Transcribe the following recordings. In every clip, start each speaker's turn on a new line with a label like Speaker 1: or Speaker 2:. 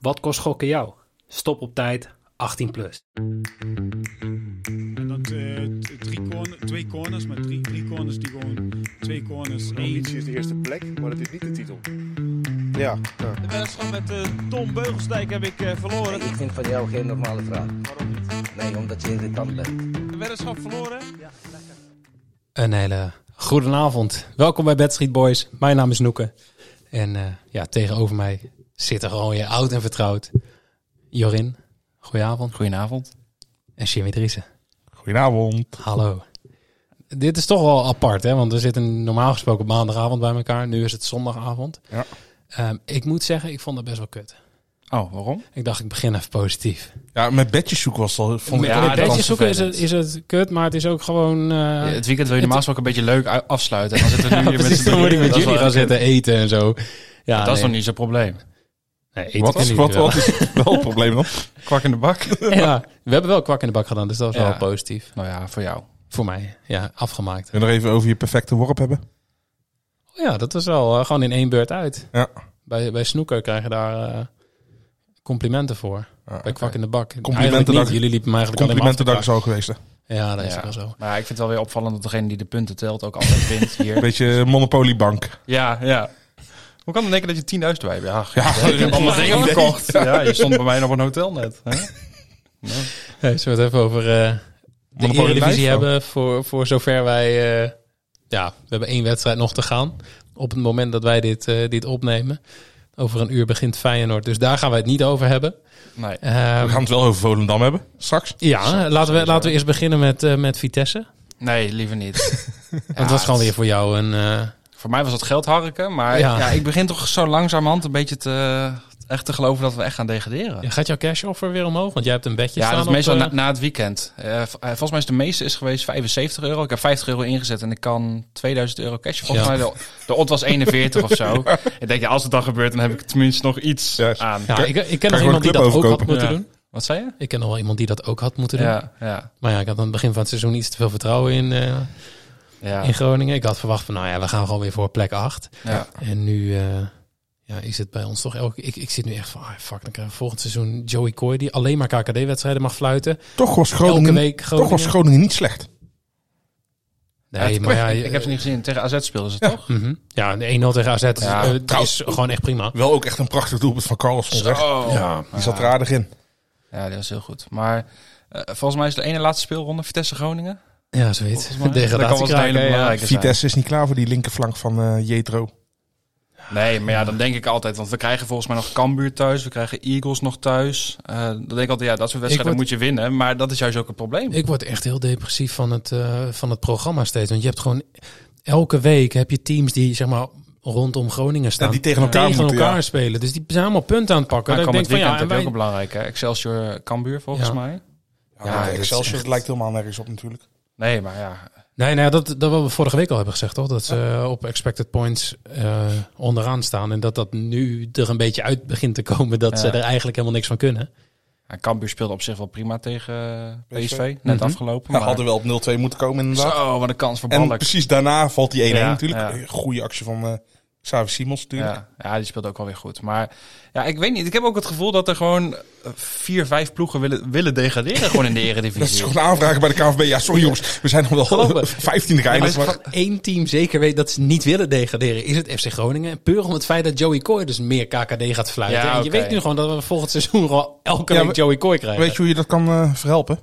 Speaker 1: Wat kost gokken jou? Stop op tijd, 18 plus.
Speaker 2: En dat eh, t- drie corner, twee corners, maar drie, drie corners die gewoon twee corners.
Speaker 3: De
Speaker 2: één.
Speaker 3: ambitie is de eerste plek, maar dat is niet de titel. Ja, ja.
Speaker 4: De wedstrijd met eh, Tom Beugelsdijk heb ik eh, verloren.
Speaker 5: Ik vind van jou geen normale vraag.
Speaker 4: Waarom niet?
Speaker 5: Nee, omdat je irritant bent.
Speaker 4: De weddenschap verloren.
Speaker 1: Een hele goede avond. Welkom bij Bad Street Boys. Mijn naam is Noeke. En eh, ja, tegenover mij zit er gewoon je oud en vertrouwd Jorin. Goedenavond.
Speaker 6: Goedenavond.
Speaker 1: En Jimmy Driessen.
Speaker 6: Goedenavond.
Speaker 1: Hallo. Dit is toch wel apart, hè? Want we zitten normaal gesproken op maandagavond bij elkaar. Nu is het zondagavond.
Speaker 6: Ja.
Speaker 1: Ehm, ik moet zeggen, ik vond het best wel kut.
Speaker 6: Oh, waarom?
Speaker 1: Ik dacht, ik begin even positief.
Speaker 7: Ja, met bedjes zoeken was het al. Vond
Speaker 1: Met-
Speaker 7: ik
Speaker 6: Ja,
Speaker 1: met
Speaker 6: dat
Speaker 1: bedjes
Speaker 6: is
Speaker 1: zoeken is het,
Speaker 6: vervelend.
Speaker 1: is het kut, maar het is ook gewoon... eh,
Speaker 6: het weekend wil je normaal gesproken een beetje leuk u- afsluiten. En dan zitten we nu
Speaker 1: ja,
Speaker 6: hier met
Speaker 1: precies,
Speaker 6: z'n
Speaker 1: dan moet ik
Speaker 6: drieën.
Speaker 1: met
Speaker 6: Dat is wel
Speaker 1: jullie gaan
Speaker 6: echt- Ah,
Speaker 1: zitten eten en zo. Ja,
Speaker 6: Dat is nog
Speaker 1: nee.
Speaker 6: niet zo'n probleem.
Speaker 1: Nee, eten
Speaker 7: wat,
Speaker 1: kan
Speaker 7: is,
Speaker 1: niet
Speaker 7: wat,
Speaker 1: wel.
Speaker 7: wat is wel het probleem dan?
Speaker 6: Kwak in de bak.
Speaker 1: Ja, we hebben wel kwak in de bak gedaan, dus dat was
Speaker 6: Ja.
Speaker 1: wel positief.
Speaker 6: nou ja, voor jou.
Speaker 1: Voor mij, ja, afgemaakt.
Speaker 7: En nog even over je perfecte worp hebben.
Speaker 1: Ja, dat was wel eh, gewoon in één beurt uit.
Speaker 7: Ja.
Speaker 1: Bij, bij Snoeker krijg je daar eh, complimenten voor. Bij kwak in de bak.
Speaker 7: Ah, Complimenten
Speaker 1: Eigenlijk niet,
Speaker 7: dag-
Speaker 1: jullie liepen me eigenlijk alleen maar af te
Speaker 7: Complimentendag is al geweest. Hè.
Speaker 1: kraken. Ja, dat is
Speaker 6: Ja.
Speaker 1: wel zo.
Speaker 6: Maar ik vind het wel weer opvallend dat degene die de punten telt ook altijd wint hier.
Speaker 7: Beetje monopoliebank.
Speaker 6: Ja, ja. Hoe kan het denken dat je 10.000 bij hebt? Ja,
Speaker 7: Ja,
Speaker 6: ik heb allemaal dingen verkocht. Ja, je stond bij mij nog op een hotel net. Hè?
Speaker 1: Hey, zullen we het even over eh, de
Speaker 7: Monopoly
Speaker 1: Eredivisie
Speaker 7: Live?
Speaker 1: hebben voor, voor zover wij... eh, ja, we hebben één wedstrijd nog te gaan. Op het moment dat wij dit, eh, dit opnemen. Over een uur begint Feyenoord. Dus daar gaan wij het niet over hebben.
Speaker 6: Nee.
Speaker 1: Ehm,
Speaker 7: We gaan het wel over Volendam hebben, straks.
Speaker 1: ja, laten we, laten we eerst beginnen met, eh, met Vitesse.
Speaker 6: nee, liever niet.
Speaker 1: Want het was gewoon weer voor jou een... eh,
Speaker 6: Voor mij was het geld harken, maar
Speaker 1: Ja.
Speaker 6: ja. ik begin toch zo langzamerhand een beetje te, echt te geloven dat we echt gaan degraderen.
Speaker 1: gaat jouw cash offer weer omhoog? Want jij hebt een bedje
Speaker 6: Ja,
Speaker 1: staan
Speaker 6: dat is meestal
Speaker 1: op... eh,
Speaker 6: na, na het weekend. Eh, v- eh, volgens mij is de meeste is geweest 75 euro. Ik heb 50 euro ingezet en ik kan 2000 euro cash. Volgens
Speaker 1: Ja.
Speaker 6: mij de, de odd was 41 of zo. Ik denk, ja, als het dan gebeurt, dan heb ik tenminste nog iets
Speaker 7: Ja, is-
Speaker 6: aan.
Speaker 1: eh, ja, ik, ik ken nog
Speaker 7: gewoon
Speaker 1: iemand die
Speaker 7: een
Speaker 1: dat
Speaker 7: club
Speaker 1: ook had
Speaker 7: overkopen.
Speaker 1: moeten
Speaker 6: Ja.
Speaker 1: doen.
Speaker 6: Wat zei je?
Speaker 1: Ik ken nog wel iemand die dat ook had moeten doen.
Speaker 6: Ja, ja,
Speaker 1: Maar ja, ik had aan het begin van het seizoen iets te veel vertrouwen in, eh,
Speaker 6: ja.
Speaker 1: in Groningen. Ik had verwacht van, nou ja, we gaan gewoon weer voor plek 8.
Speaker 6: ja.
Speaker 1: En nu eh, ja, is het bij ons toch elke... Ik, ik zit nu echt van, ah, fuck, dan krijgen we volgend seizoen Joey Coy... die alleen maar KKD-wedstrijden mag fluiten.
Speaker 7: Toch was
Speaker 1: Elke
Speaker 7: Groningen,
Speaker 1: week
Speaker 7: toch
Speaker 1: Groningen.
Speaker 7: was Groningen niet slecht.
Speaker 1: nee, maar ja...
Speaker 6: ik, ik heb ze niet gezien. Tegen AZ speelden ze toch?
Speaker 1: mhm. Ja, de 1-0 tegen AZ dat
Speaker 6: Ja,
Speaker 1: is, eh, dat
Speaker 7: trouwens-
Speaker 1: is gewoon echt prima.
Speaker 7: Wel ook echt een prachtig doelpunt van Carlos. van Recht.
Speaker 6: Zo.
Speaker 7: Ja, die zat er aardig in.
Speaker 6: Ja, dat was heel goed. Maar eh, volgens mij is de ene laatste speelronde Vitesse-Groningen.
Speaker 1: Ja, zoiets.
Speaker 6: Volgens mij. Dat kan wel eens een
Speaker 1: Degradatiekraken,
Speaker 6: hele
Speaker 1: ja.
Speaker 6: belangrijke zijn.
Speaker 7: Vitesse is niet klaar voor die linkerflank van eh Jetro.
Speaker 6: Nee, maar ja, dan denk ik altijd. Want we krijgen volgens mij nog Cambuur thuis. We krijgen Eagles nog thuis. Eh, dan denk ik altijd, ja, dat soort
Speaker 1: word-
Speaker 6: wedstrijden moet je winnen. Maar dat is juist ook een probleem.
Speaker 1: Ik word echt heel depressief van het, eh, van het programma steeds. Want je hebt gewoon elke week heb je teams die zeg maar rondom Groningen staan.
Speaker 7: Ja, die tegen elkaar
Speaker 1: tegen
Speaker 7: moeten,
Speaker 1: elkaar
Speaker 7: ja.
Speaker 1: spelen. Dus die zijn allemaal punten aan het pakken.
Speaker 6: Maar
Speaker 1: Dan denk
Speaker 6: ik het
Speaker 1: ik van
Speaker 6: weekend
Speaker 1: ja, en
Speaker 6: heb je
Speaker 1: wij,
Speaker 6: ook een belangrijke. Excelsior Cambuur volgens
Speaker 1: Ja.
Speaker 6: mij.
Speaker 7: Ja,
Speaker 6: Ja,
Speaker 7: maar
Speaker 6: dat is
Speaker 7: Excelsior het lijkt helemaal nergens op natuurlijk.
Speaker 6: Nee, maar ja.
Speaker 1: nee, nee, dat, dat wat we vorige week al hebben gezegd, toch? Dat ze eh, op expected points eh, onderaan staan. En dat dat nu er een beetje uit begint te komen dat
Speaker 6: Ja.
Speaker 1: ze er eigenlijk helemaal niks van kunnen.
Speaker 6: ja, Cambuur speelde op zich wel prima tegen eh, PSV.
Speaker 7: PSV.
Speaker 6: Net
Speaker 1: Mhm.
Speaker 6: afgelopen.
Speaker 7: Nou,
Speaker 6: Maar...
Speaker 7: hadden we op 0-2 moeten komen inderdaad.
Speaker 6: Zo, wat een kans voor
Speaker 7: en
Speaker 6: Ballack.
Speaker 7: precies daarna valt die 1-1
Speaker 6: Ja,
Speaker 7: natuurlijk.
Speaker 6: ja.
Speaker 7: Goede actie van eh Xavi Simons natuurlijk.
Speaker 6: Ja, ja, die speelt ook wel weer goed. Maar ja, ik weet niet. Ik heb ook het gevoel dat er gewoon eh, vier, vijf ploegen willen, willen degraderen gewoon in de eredivisie.
Speaker 7: Dat is gewoon aanvragen bij de KNVB. Ja, sorry jongens, we zijn nog
Speaker 1: Geloof me.
Speaker 7: wel
Speaker 1: En
Speaker 7: 15
Speaker 1: als
Speaker 7: geëindigd.
Speaker 1: je
Speaker 7: Maar...
Speaker 1: van één team zeker weet dat ze niet willen degraderen, is het FC Groningen. En puur om het feit dat Joey Coy dus meer KKD gaat fluiten.
Speaker 6: Ja,
Speaker 1: en je
Speaker 6: oké.
Speaker 1: weet nu gewoon dat we volgend seizoen gewoon elke
Speaker 7: Ja,
Speaker 1: week
Speaker 7: maar-
Speaker 1: Joey Coy krijgen.
Speaker 7: Weet je hoe je dat kan eh, verhelpen?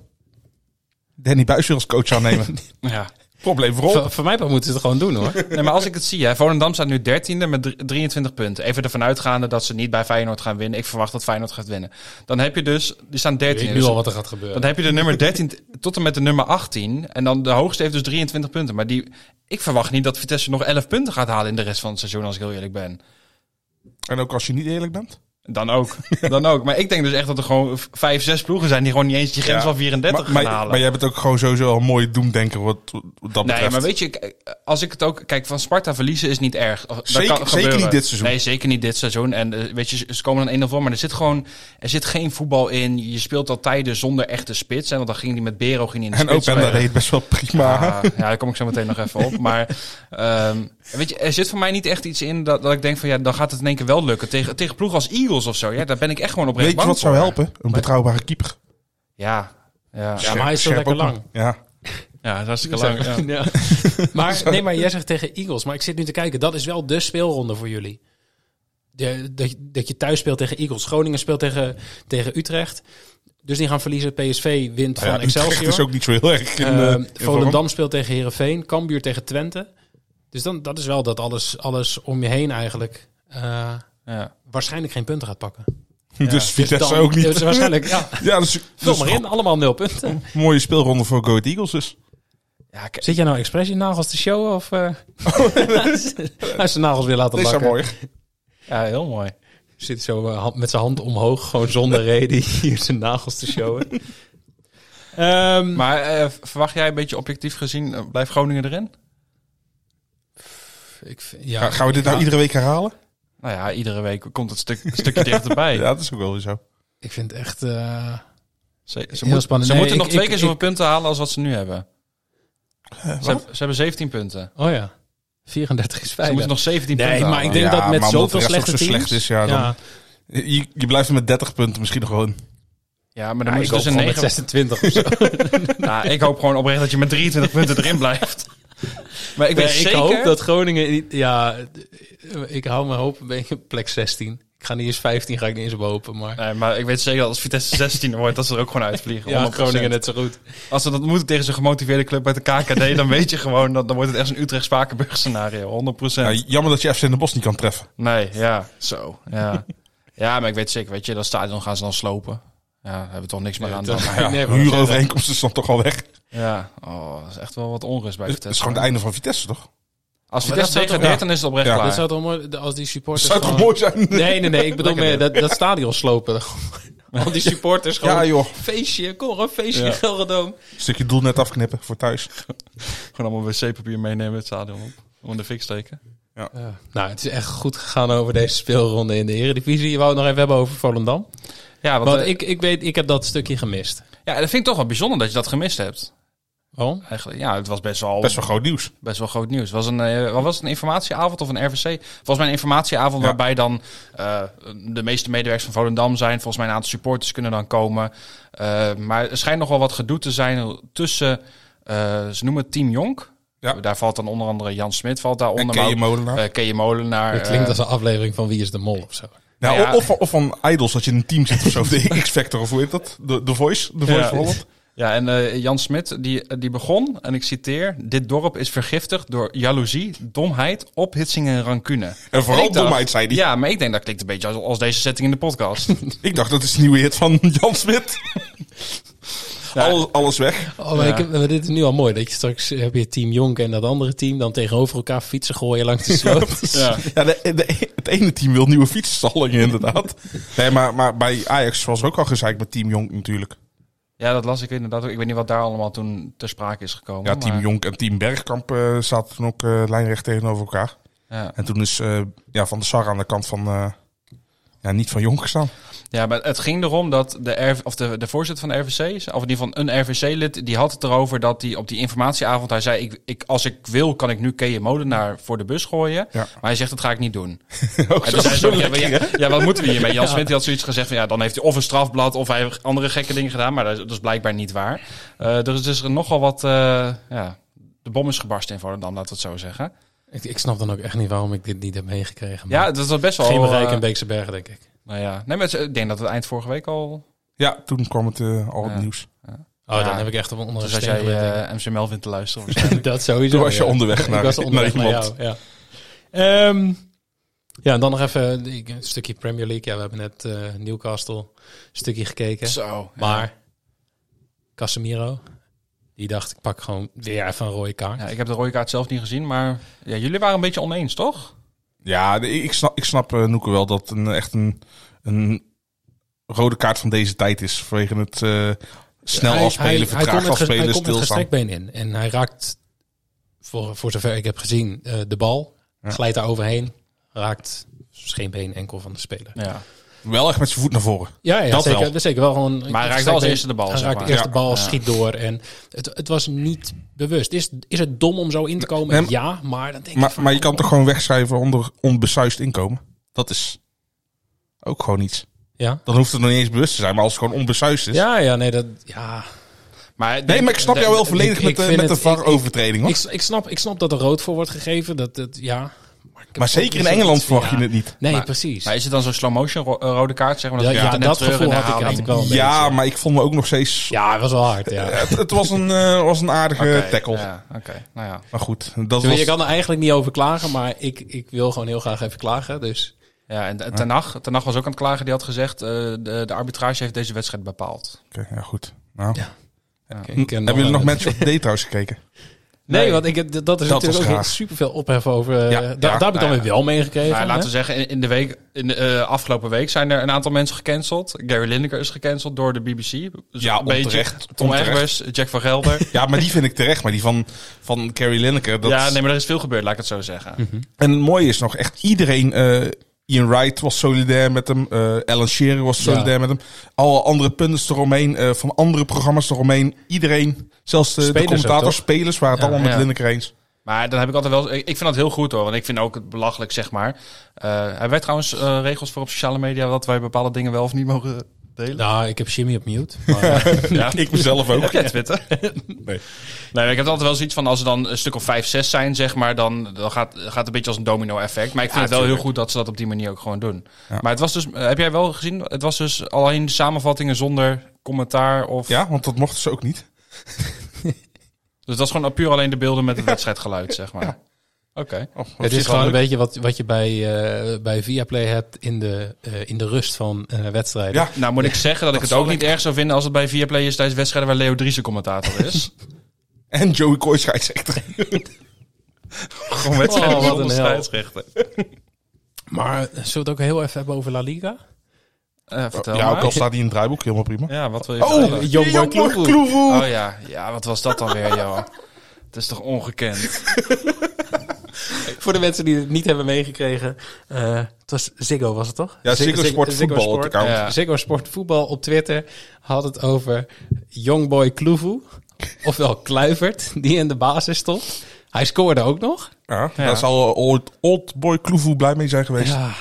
Speaker 7: Danny Buis weer als coach aannemen.
Speaker 6: Ja.
Speaker 7: Probleem voorop.
Speaker 1: voor, voor mij moeten ze het gewoon doen hoor.
Speaker 6: Nee, maar als ik het zie, hè, Volendam staat nu 13e met drie- 23 punten. Even ervan uitgaande dat ze niet bij Feyenoord gaan winnen. Ik verwacht dat Feyenoord gaat winnen. Dan heb je dus, die staan 13e.
Speaker 1: Ik weet nu
Speaker 6: Dus
Speaker 1: al wat er gaat gebeuren.
Speaker 6: Dan heb je de nummer 13 t- tot en met de nummer 18. En dan de hoogste heeft dus 23 punten. Maar die, ik verwacht niet dat Vitesse nog 11 punten gaat halen in de rest van het seizoen, als ik heel eerlijk ben.
Speaker 7: En ook als je niet eerlijk bent.
Speaker 6: Dan ook. Dan ook. Maar ik denk dus echt dat er gewoon v- vijf, zes ploegen zijn die gewoon niet eens die grens
Speaker 7: Ja.
Speaker 6: van 34
Speaker 7: maar,
Speaker 6: gaan
Speaker 7: maar,
Speaker 6: halen.
Speaker 7: maar jij bent ook gewoon sowieso al een mooie doemdenker wat, wat dat betreft.
Speaker 6: Nee, maar weet je, k- eh, als ik het ook... Kijk, van Sparta verliezen is niet erg. Dat
Speaker 7: Zeker-
Speaker 6: kan
Speaker 7: zeker
Speaker 6: gebeuren.
Speaker 7: niet dit seizoen.
Speaker 6: Nee, zeker niet dit seizoen. En eh, weet je, ze- ze komen dan 1-0 voor. Maar er zit gewoon... Er zit geen voetbal in. Je speelt al tijden zonder echte spits. En want dan ging die met Bero ging die in de
Speaker 7: en ook
Speaker 6: spits
Speaker 7: Benda
Speaker 6: spelen.
Speaker 7: deed het best wel prima.
Speaker 6: Ah, ja, daar kom ik zo meteen nog even op. Maar ehm, En Weet je, er zit voor mij niet echt iets in dat, dat ik denk van ja, dan gaat het in één keer wel lukken. Tegen, tegen ploeg als Eagles of zo. Ja, daar ben ik echt gewoon oprecht
Speaker 7: Weet je
Speaker 6: bang
Speaker 7: wat
Speaker 6: voor.
Speaker 7: zou helpen? Een betrouwbare keeper.
Speaker 6: Ja, ja.
Speaker 1: Ja, maar hij is zo
Speaker 7: Scherp
Speaker 1: lekker
Speaker 7: ook
Speaker 1: lang.
Speaker 7: nog. Ja.
Speaker 6: Ja, dat is hartstikke lang. Ja.
Speaker 1: Ja. Maar, nee, maar jij zegt tegen Eagles. Maar ik zit nu te kijken. Dat is wel de speelronde voor jullie. De, dat, je- dat je thuis speelt tegen Eagles. Groningen speelt tegen, tegen Utrecht. Dus die gaan verliezen. PSV wint
Speaker 7: Nou ja,
Speaker 1: van
Speaker 7: Utrecht
Speaker 1: Excelsior.
Speaker 7: is ook niet zo heel erg. in,
Speaker 1: Eh,
Speaker 7: eh, in vorm.
Speaker 1: Volendam speelt tegen Herenveen. Cambuur tegen Twente. Dus dan, dat is wel dat alles, alles om je heen eigenlijk... eh,
Speaker 6: Ja.
Speaker 1: waarschijnlijk geen punten gaat pakken.
Speaker 7: Dus Vitesse
Speaker 1: dan-
Speaker 7: ook niet.
Speaker 1: dus waarschijnlijk, ja.
Speaker 7: Ja, dus,
Speaker 1: Vul
Speaker 7: dus
Speaker 1: maar in, allemaal nul punten.
Speaker 7: een mooie speelronde voor Go Ahead Eagles dus.
Speaker 6: Ja, ik-
Speaker 1: Zit jij nou expres je nagels te showen? Of, eh hij is zijn nagels weer laten
Speaker 7: Dat is
Speaker 1: lakken.
Speaker 7: wel mooi.
Speaker 6: ja, heel mooi.
Speaker 1: Zit zo eh, hand- met zijn hand omhoog, gewoon zonder reden, hier zijn nagels te showen. Ehm,
Speaker 6: Maar eh, v- verwacht jij een beetje objectief gezien, eh, blijft Groningen erin?
Speaker 1: ik vind-
Speaker 7: Ga-
Speaker 1: ja,
Speaker 7: Gaan we dit nou iedere week herhalen?
Speaker 6: Nou ja, iedere week komt het stuk, een stukje dichterbij.
Speaker 7: Ja, dat is ook wel weer zo.
Speaker 1: ik vind het echt... eh,
Speaker 6: Ze, ze,
Speaker 1: Heel
Speaker 6: moeten-
Speaker 1: spannend.
Speaker 6: ze
Speaker 1: Nee,
Speaker 6: moeten
Speaker 1: ik-
Speaker 6: nog twee
Speaker 1: ik-
Speaker 6: keer zoveel punten halen als wat ze nu hebben. ze,
Speaker 7: wat?
Speaker 6: hebben ze hebben 17 punten.
Speaker 1: oh ja, 34 is
Speaker 6: Ze
Speaker 1: 5.
Speaker 6: moeten nog 17
Speaker 1: Nee,
Speaker 6: punten
Speaker 1: maar ik
Speaker 6: halen.
Speaker 1: denk
Speaker 7: Ja,
Speaker 1: dat
Speaker 7: maar
Speaker 1: met
Speaker 7: omdat
Speaker 1: zoveel
Speaker 7: de rest ook
Speaker 1: slechte
Speaker 7: zo
Speaker 1: teams...
Speaker 7: slecht is, ja, dan- Je, je blijft met 30 punten misschien nog gewoon.
Speaker 6: Ja, maar dan
Speaker 1: Ja, ik
Speaker 6: moeten ze
Speaker 1: hoop
Speaker 6: dus een
Speaker 1: gewoon met
Speaker 6: 9...
Speaker 1: 26 of zo.
Speaker 6: Nou, ik hoop gewoon oprecht dat je met 23 punten erin blijft. Maar ik
Speaker 1: Nee,
Speaker 6: weet
Speaker 1: Ik,
Speaker 6: zeker...
Speaker 1: hoop dat Groningen... niet- Ja, eh, ik hou mijn hoop een beetje op plek 16. Ik ga niet eens 15, ga ik niet eens behopen, maar...
Speaker 6: Nee, maar ik weet zeker dat als Vitesse 16 wordt, dat ze er ook gewoon uitvliegen.
Speaker 1: Ja,
Speaker 6: 100%.
Speaker 1: Groningen net zo goed.
Speaker 6: Als ze dat moeten tegen zo'n gemotiveerde club uit de KKD, dan weet je gewoon, dat, dan wordt het echt een Utrecht-Spakenburg scenario. 100%.
Speaker 7: Ja, jammer dat je FC in de Bos niet kan treffen.
Speaker 6: Nee, ja, zo. Ja. ja, maar ik weet zeker, weet je, dat stadion gaan ze dan slopen. Ja, daar hebben we toch niks meer aan. Dan.
Speaker 1: Ja, nee, maar-
Speaker 7: Huurovereenkomst is dan toch al weg.
Speaker 6: Ja, oh, dat is echt wel wat onrust bij
Speaker 7: Het is
Speaker 6: Vitesse.
Speaker 7: gewoon het einde van Vitesse, toch?
Speaker 6: Als
Speaker 1: Maar
Speaker 6: Vitesse
Speaker 1: dat zou toch-
Speaker 6: degradeert, dan is het oprecht
Speaker 7: Ja.
Speaker 1: Dat
Speaker 6: klaar.
Speaker 1: zou toch mooi als die supporters...
Speaker 7: zou toch
Speaker 1: gewoon-
Speaker 7: mooi zijn?
Speaker 1: Nee, nee, nee. Ik bedoel
Speaker 6: Lekker
Speaker 1: meer dat, dat stadion slopen. Al die supporters gewoon...
Speaker 7: Ja, joh.
Speaker 1: Feestje, kom op, feestje in
Speaker 6: Ja.
Speaker 1: Gelredome.
Speaker 7: Stukje doel net afknippen voor thuis.
Speaker 6: Gewoon allemaal wc-papier meenemen het stadion op. Om in de fik steken.
Speaker 1: nou, het is echt goed gegaan over deze speelronde in de Eredivisie. Je wou het nog even hebben over Volendam.
Speaker 6: Ja, want,
Speaker 1: Want
Speaker 6: eh,
Speaker 1: ik, ik weet, ik heb dat stukje gemist.
Speaker 6: ja, dat vind ik toch wel bijzonder dat je dat gemist hebt.
Speaker 1: Waarom?
Speaker 6: Eigenlijk, ja, het was best wel,
Speaker 7: Best wel groot nieuws.
Speaker 6: best wel groot nieuws. Het was een, eh, wat was het, een informatieavond of een RVC? Volgens mij een informatieavond
Speaker 7: Ja.
Speaker 6: waarbij dan eh, de meeste medewerkers van Volendam zijn. Volgens mij een aantal supporters kunnen dan komen. Eh, maar er schijnt nog wel wat gedoe te zijn tussen, eh, ze noemen het Team Jonk.
Speaker 7: Ja.
Speaker 6: Daar valt dan onder andere Jan Smit valt daar
Speaker 7: En
Speaker 6: onder.
Speaker 7: Kea
Speaker 6: maar ook,
Speaker 7: Molenaar.
Speaker 6: eh, Kea Molenaar.
Speaker 1: Het klinkt
Speaker 6: eh,
Speaker 1: als een aflevering van Wie is de Mol of zo.
Speaker 7: nou,
Speaker 6: ja.
Speaker 7: of, of van Idols, dat je in een team zit of zo. Of de X-Factor, of hoe heet dat? De, de Voice, de Voice
Speaker 6: Ja.
Speaker 7: van Holland.
Speaker 6: Ja, en eh, Jan Smit die, die begon, en ik citeer... Dit dorp is vergiftigd door jaloezie, domheid, ophitsing en rancune.
Speaker 7: En vooral
Speaker 6: Ik dacht-
Speaker 7: domheid, zei hij.
Speaker 6: Ja, maar ik denk dat klinkt een beetje als, als deze setting in de podcast.
Speaker 7: Ik dacht, dat is de nieuwe hit van Jan Smit.
Speaker 6: Ja.
Speaker 7: Alles, alles weg.
Speaker 1: Oh, maar ik heb- maar dit is nu al mooi. Dat je straks heb je team Jonk en dat andere team dan tegenover elkaar fietsen gooien langs de sloot.
Speaker 6: ja.
Speaker 7: Ja, de, de- het ene team wil nieuwe fietsstallingen, inderdaad. Nee, maar, maar bij Ajax was er ook al gezeikt met Team Jong
Speaker 1: Oh,
Speaker 7: natuurlijk.
Speaker 6: ja, dat las ik inderdaad ook. Ik weet niet wat daar allemaal toen ter sprake is gekomen.
Speaker 7: Ja, Team
Speaker 6: maar-
Speaker 7: Jonk en Team Bergkamp eh, zaten toen ook eh, lijnrecht tegenover elkaar.
Speaker 6: Ja.
Speaker 7: En toen is eh, ja, Van de Sar aan de kant van... eh, ja, niet van Jonk gestaan.
Speaker 6: Ja, maar het ging erom dat de, RV of de, de voorzitter van de RVC, of in ieder geval een RVC-lid, die had het erover dat hij op die informatieavond, hij zei, ik, ik, als ik wil, kan ik nu Keje Molenaar voor de bus gooien.
Speaker 7: Ja.
Speaker 6: Maar hij zegt, dat ga ik niet doen.
Speaker 7: Ook
Speaker 6: En toen
Speaker 7: zo-
Speaker 6: zei ze
Speaker 7: zo
Speaker 6: ook, ja, maar
Speaker 7: lekker,
Speaker 6: ja,
Speaker 7: hè?
Speaker 6: ja, wat moeten we hiermee? Jan Smit die had zoiets gezegd van, ja, dan heeft hij of een strafblad of hij heeft andere gekke dingen gedaan. Maar dat is, dat is blijkbaar niet waar. Eh, dus er is er nogal wat, eh, ja, de bom is gebarsten in Volendam, laten we het zo zeggen.
Speaker 1: Ik, ik snap dan ook echt niet waarom ik dit niet heb meegekregen. maar
Speaker 6: Ja, dat was best wel...
Speaker 1: geen bereik
Speaker 6: eh,
Speaker 1: in Beekse Bergen, denk ik.
Speaker 6: nou ja, nee, maar het- ik denk dat het eind vorige week al...
Speaker 7: Ja, toen kwam het eh, al het
Speaker 6: Ja.
Speaker 7: nieuws.
Speaker 1: Oh,
Speaker 6: ja.
Speaker 1: dan heb ik echt op een andere
Speaker 6: Dus als
Speaker 1: steen
Speaker 6: jij
Speaker 1: gelegd, denk ik.
Speaker 6: eh, MC Melvin te luisteren
Speaker 1: dat sowieso.
Speaker 7: Toen was je
Speaker 1: ja.
Speaker 7: onderweg naar,
Speaker 1: ik was onderweg
Speaker 7: naar
Speaker 1: naar
Speaker 7: iemand.
Speaker 1: jou. Ja. Ehm, ja, en dan nog even ik- een stukje Premier League. Ja, we hebben net eh, Newcastle een stukje gekeken.
Speaker 6: Zo.
Speaker 1: Maar Casemiro, die dacht ik pak gewoon weer even een rode kaart.
Speaker 6: Ja, ik heb de rode kaart zelf niet gezien, maar ja, jullie waren een beetje oneens, toch?
Speaker 7: Ja, nee, ik snap, ik snap eh, Noeke wel dat een, echt een, een rode kaart van deze tijd is. Vanwege het eh, snel
Speaker 1: Hij-
Speaker 7: afspelen,
Speaker 1: hij-
Speaker 7: vertraag
Speaker 1: hij komt met ges-
Speaker 7: afspelen,
Speaker 1: Hij komt met
Speaker 7: stilstaan.
Speaker 1: gestrekbeen in. En hij raakt, voor, voor zover ik heb gezien, eh, de bal. Glijdt daar overheen. Raakt scheenbeen enkel van de speler.
Speaker 6: Ja.
Speaker 7: Wel echt met zijn voet naar voren.
Speaker 1: Ja, ja
Speaker 7: Dat
Speaker 1: zeker,
Speaker 7: wel.
Speaker 1: dat zeker wel gewoon.
Speaker 6: Maar hij raakt wel als eerste de bal,
Speaker 1: Hij
Speaker 6: zeg
Speaker 1: raakt
Speaker 6: maar.
Speaker 1: eerst
Speaker 7: Ja.
Speaker 1: de bal,
Speaker 6: Ja.
Speaker 1: schiet door. En het, het was niet bewust. Is, is het dom om zo in te komen?
Speaker 7: Nee, maar-
Speaker 1: ja, maar dan denk ik.
Speaker 7: Maar,
Speaker 1: van,
Speaker 7: maar je kan toch gewoon wegschrijven onder onbesuist inkomen? Dat is ook gewoon iets.
Speaker 1: Ja,
Speaker 7: Dan hoeft het nog niet eens bewust te zijn, maar als het gewoon onbesuist is.
Speaker 1: ja, ja nee, dat. Ja.
Speaker 6: Maar,
Speaker 7: Nee, maar ik snap jou wel
Speaker 1: Ik-
Speaker 7: volledig
Speaker 1: ik
Speaker 7: met, de-
Speaker 1: vind
Speaker 7: met de
Speaker 1: het- ik- ik-
Speaker 7: VAR-overtreding, hoor.
Speaker 1: Ik, ik, snap, ik snap dat er rood voor wordt gegeven. Dat, dat, ja. Maar, ik heb
Speaker 7: Maar
Speaker 1: ook
Speaker 7: zeker
Speaker 1: niet
Speaker 7: in
Speaker 1: zoiets
Speaker 7: Engeland
Speaker 1: van,
Speaker 7: verwacht je
Speaker 1: ja.
Speaker 7: het niet.
Speaker 1: Nee,
Speaker 6: Maar-
Speaker 1: precies.
Speaker 6: Maar is het dan zo'n slow motion ro- eh, rode kaart? Zeg maar,
Speaker 1: ja,
Speaker 6: dat
Speaker 1: ja,
Speaker 6: ja,
Speaker 1: dat gevoel had ik, had ik wel een
Speaker 7: Ja,
Speaker 1: beetje.
Speaker 7: maar ik vond me ook nog steeds...
Speaker 1: Ja, het was wel hard. Ja.
Speaker 7: Het, het was, een, eh, was een aardige tackle.
Speaker 6: Ja, oké. Nou ja.
Speaker 7: Maar goed, dat
Speaker 1: Terwijl
Speaker 7: was...
Speaker 1: Je kan er eigenlijk niet over klagen, maar ik, ik wil gewoon heel graag even klagen. Dus
Speaker 6: ja, en Ten Hag, Ten Hag was ook aan het klagen. Die had gezegd, eh, de, de arbitrage heeft deze wedstrijd bepaald.
Speaker 7: Oké, ja, goed. Nou.
Speaker 1: Ja.
Speaker 6: Ja.
Speaker 1: Ik ken
Speaker 7: Hebben jullie nog
Speaker 1: wel-
Speaker 7: Match of the Day trouwens gekeken?
Speaker 1: Nee,
Speaker 6: Nee.
Speaker 1: want ik, heb- dat is
Speaker 7: Dat was
Speaker 1: natuurlijk ook
Speaker 7: graag.
Speaker 1: superveel ophef over. eh,
Speaker 7: Ja,
Speaker 1: da-
Speaker 7: ja,
Speaker 1: daar heb ik
Speaker 6: nou
Speaker 1: dan
Speaker 6: ja.
Speaker 1: weer wel meegekregen.
Speaker 6: Nou, laten
Speaker 1: hè?
Speaker 6: we zeggen, in- in de, week, in de eh, afgelopen week zijn er een aantal mensen gecanceld. Gary Lineker is gecanceld door de BBC. Dus
Speaker 7: Ja,
Speaker 6: een beetje
Speaker 7: onterecht.
Speaker 6: Tom
Speaker 7: Onterecht.
Speaker 6: Egbers, Jack van Gelder.
Speaker 7: Ja, maar die vind ik terecht. Maar die van, van Carrie Lineker. Dat... Mhm.
Speaker 6: Ja, nee, maar er is veel gebeurd, laat ik het zo zeggen.
Speaker 7: En het mooie is nog echt iedereen... eh, Ian Wright was solidair met hem. eh Alan Shearer was solidair met hem. Alle andere punters eromheen. eh, van andere programma's eromheen. Iedereen. Zelfs de, de
Speaker 1: Spelers ook,
Speaker 7: commentators,
Speaker 1: toch?
Speaker 7: spelers waren het allemaal met
Speaker 6: ja.
Speaker 7: Lineker eens.
Speaker 6: Maar dan heb ik altijd wel. Ik ik vind dat heel goed hoor. Want ik vind ook het belachelijk, zeg maar. Eh hebben wij trouwens eh, regels voor op sociale media dat wij bepaalde dingen wel of niet mogen delen?
Speaker 1: Nou, ik heb Jimmy op mute. Maar,
Speaker 6: Ja.
Speaker 7: Ik mezelf ook.
Speaker 6: Heb jij Twitter? Nee. nee, maar ik heb altijd wel zoiets van als er dan een stuk of vijf, zes zijn, zeg maar, dan, dan gaat, gaat het een beetje als een domino-effect. Maar ik vind het wel heel goed dat ze dat op die manier ook gewoon doen. Maar het was dus, eh, heb jij wel gezien? Het was dus alleen samenvattingen zonder commentaar of.
Speaker 7: Ja, want dat mochten ze ook niet.
Speaker 6: Dus dat is gewoon puur alleen de beelden met het wedstrijdgeluid, zeg maar. Oké.
Speaker 7: Oh, op
Speaker 1: het
Speaker 7: zich
Speaker 1: is gewoon
Speaker 7: wel
Speaker 1: een
Speaker 7: leuk.
Speaker 1: beetje wat, wat je bij, eh bij Viaplay hebt in de, eh, in de rust van eh wedstrijden.
Speaker 7: Ja.
Speaker 6: Nou moet ik zeggen dat, ik het ook niet erg zou vinden als het bij Viaplay is tijdens wedstrijden waar Leo Driessen commentator is.
Speaker 7: En Joey Kooi scheidsrechter.
Speaker 6: Gewoon
Speaker 1: wedstrijden Oh, wat zonder een hel.
Speaker 6: scheidsrechter.
Speaker 1: Maar eh, zullen we het ook heel even hebben over La Liga?
Speaker 6: Eh, vertel
Speaker 7: Ja, ook
Speaker 6: maar.
Speaker 7: al staat hij in het draaiboek. Helemaal prima.
Speaker 6: Ja, wat wil je
Speaker 7: Oh,
Speaker 6: vertellen?
Speaker 7: Jongboy Kloevoe.
Speaker 6: Oh ja. ja, wat was dat dan weer, joh? Het is toch ongekend?
Speaker 1: Voor de mensen die het niet hebben meegekregen. eh, het was Ziggo, was het toch?
Speaker 7: Ja,
Speaker 1: Zig-
Speaker 7: Ziggo
Speaker 1: Zig-
Speaker 7: Sport
Speaker 1: Ziggo
Speaker 7: Voetbal op
Speaker 1: Sport.
Speaker 7: het account.
Speaker 6: Ja.
Speaker 1: Ziggo Sport Voetbal op Twitter had het over Youngboy Kloevoe. Ofwel Kluivert, die in de basis stond. Hij scoorde ook nog.
Speaker 7: Ja, daar zal eh, old, Oldboy Kloevoe blij mee zijn geweest.
Speaker 1: Ja.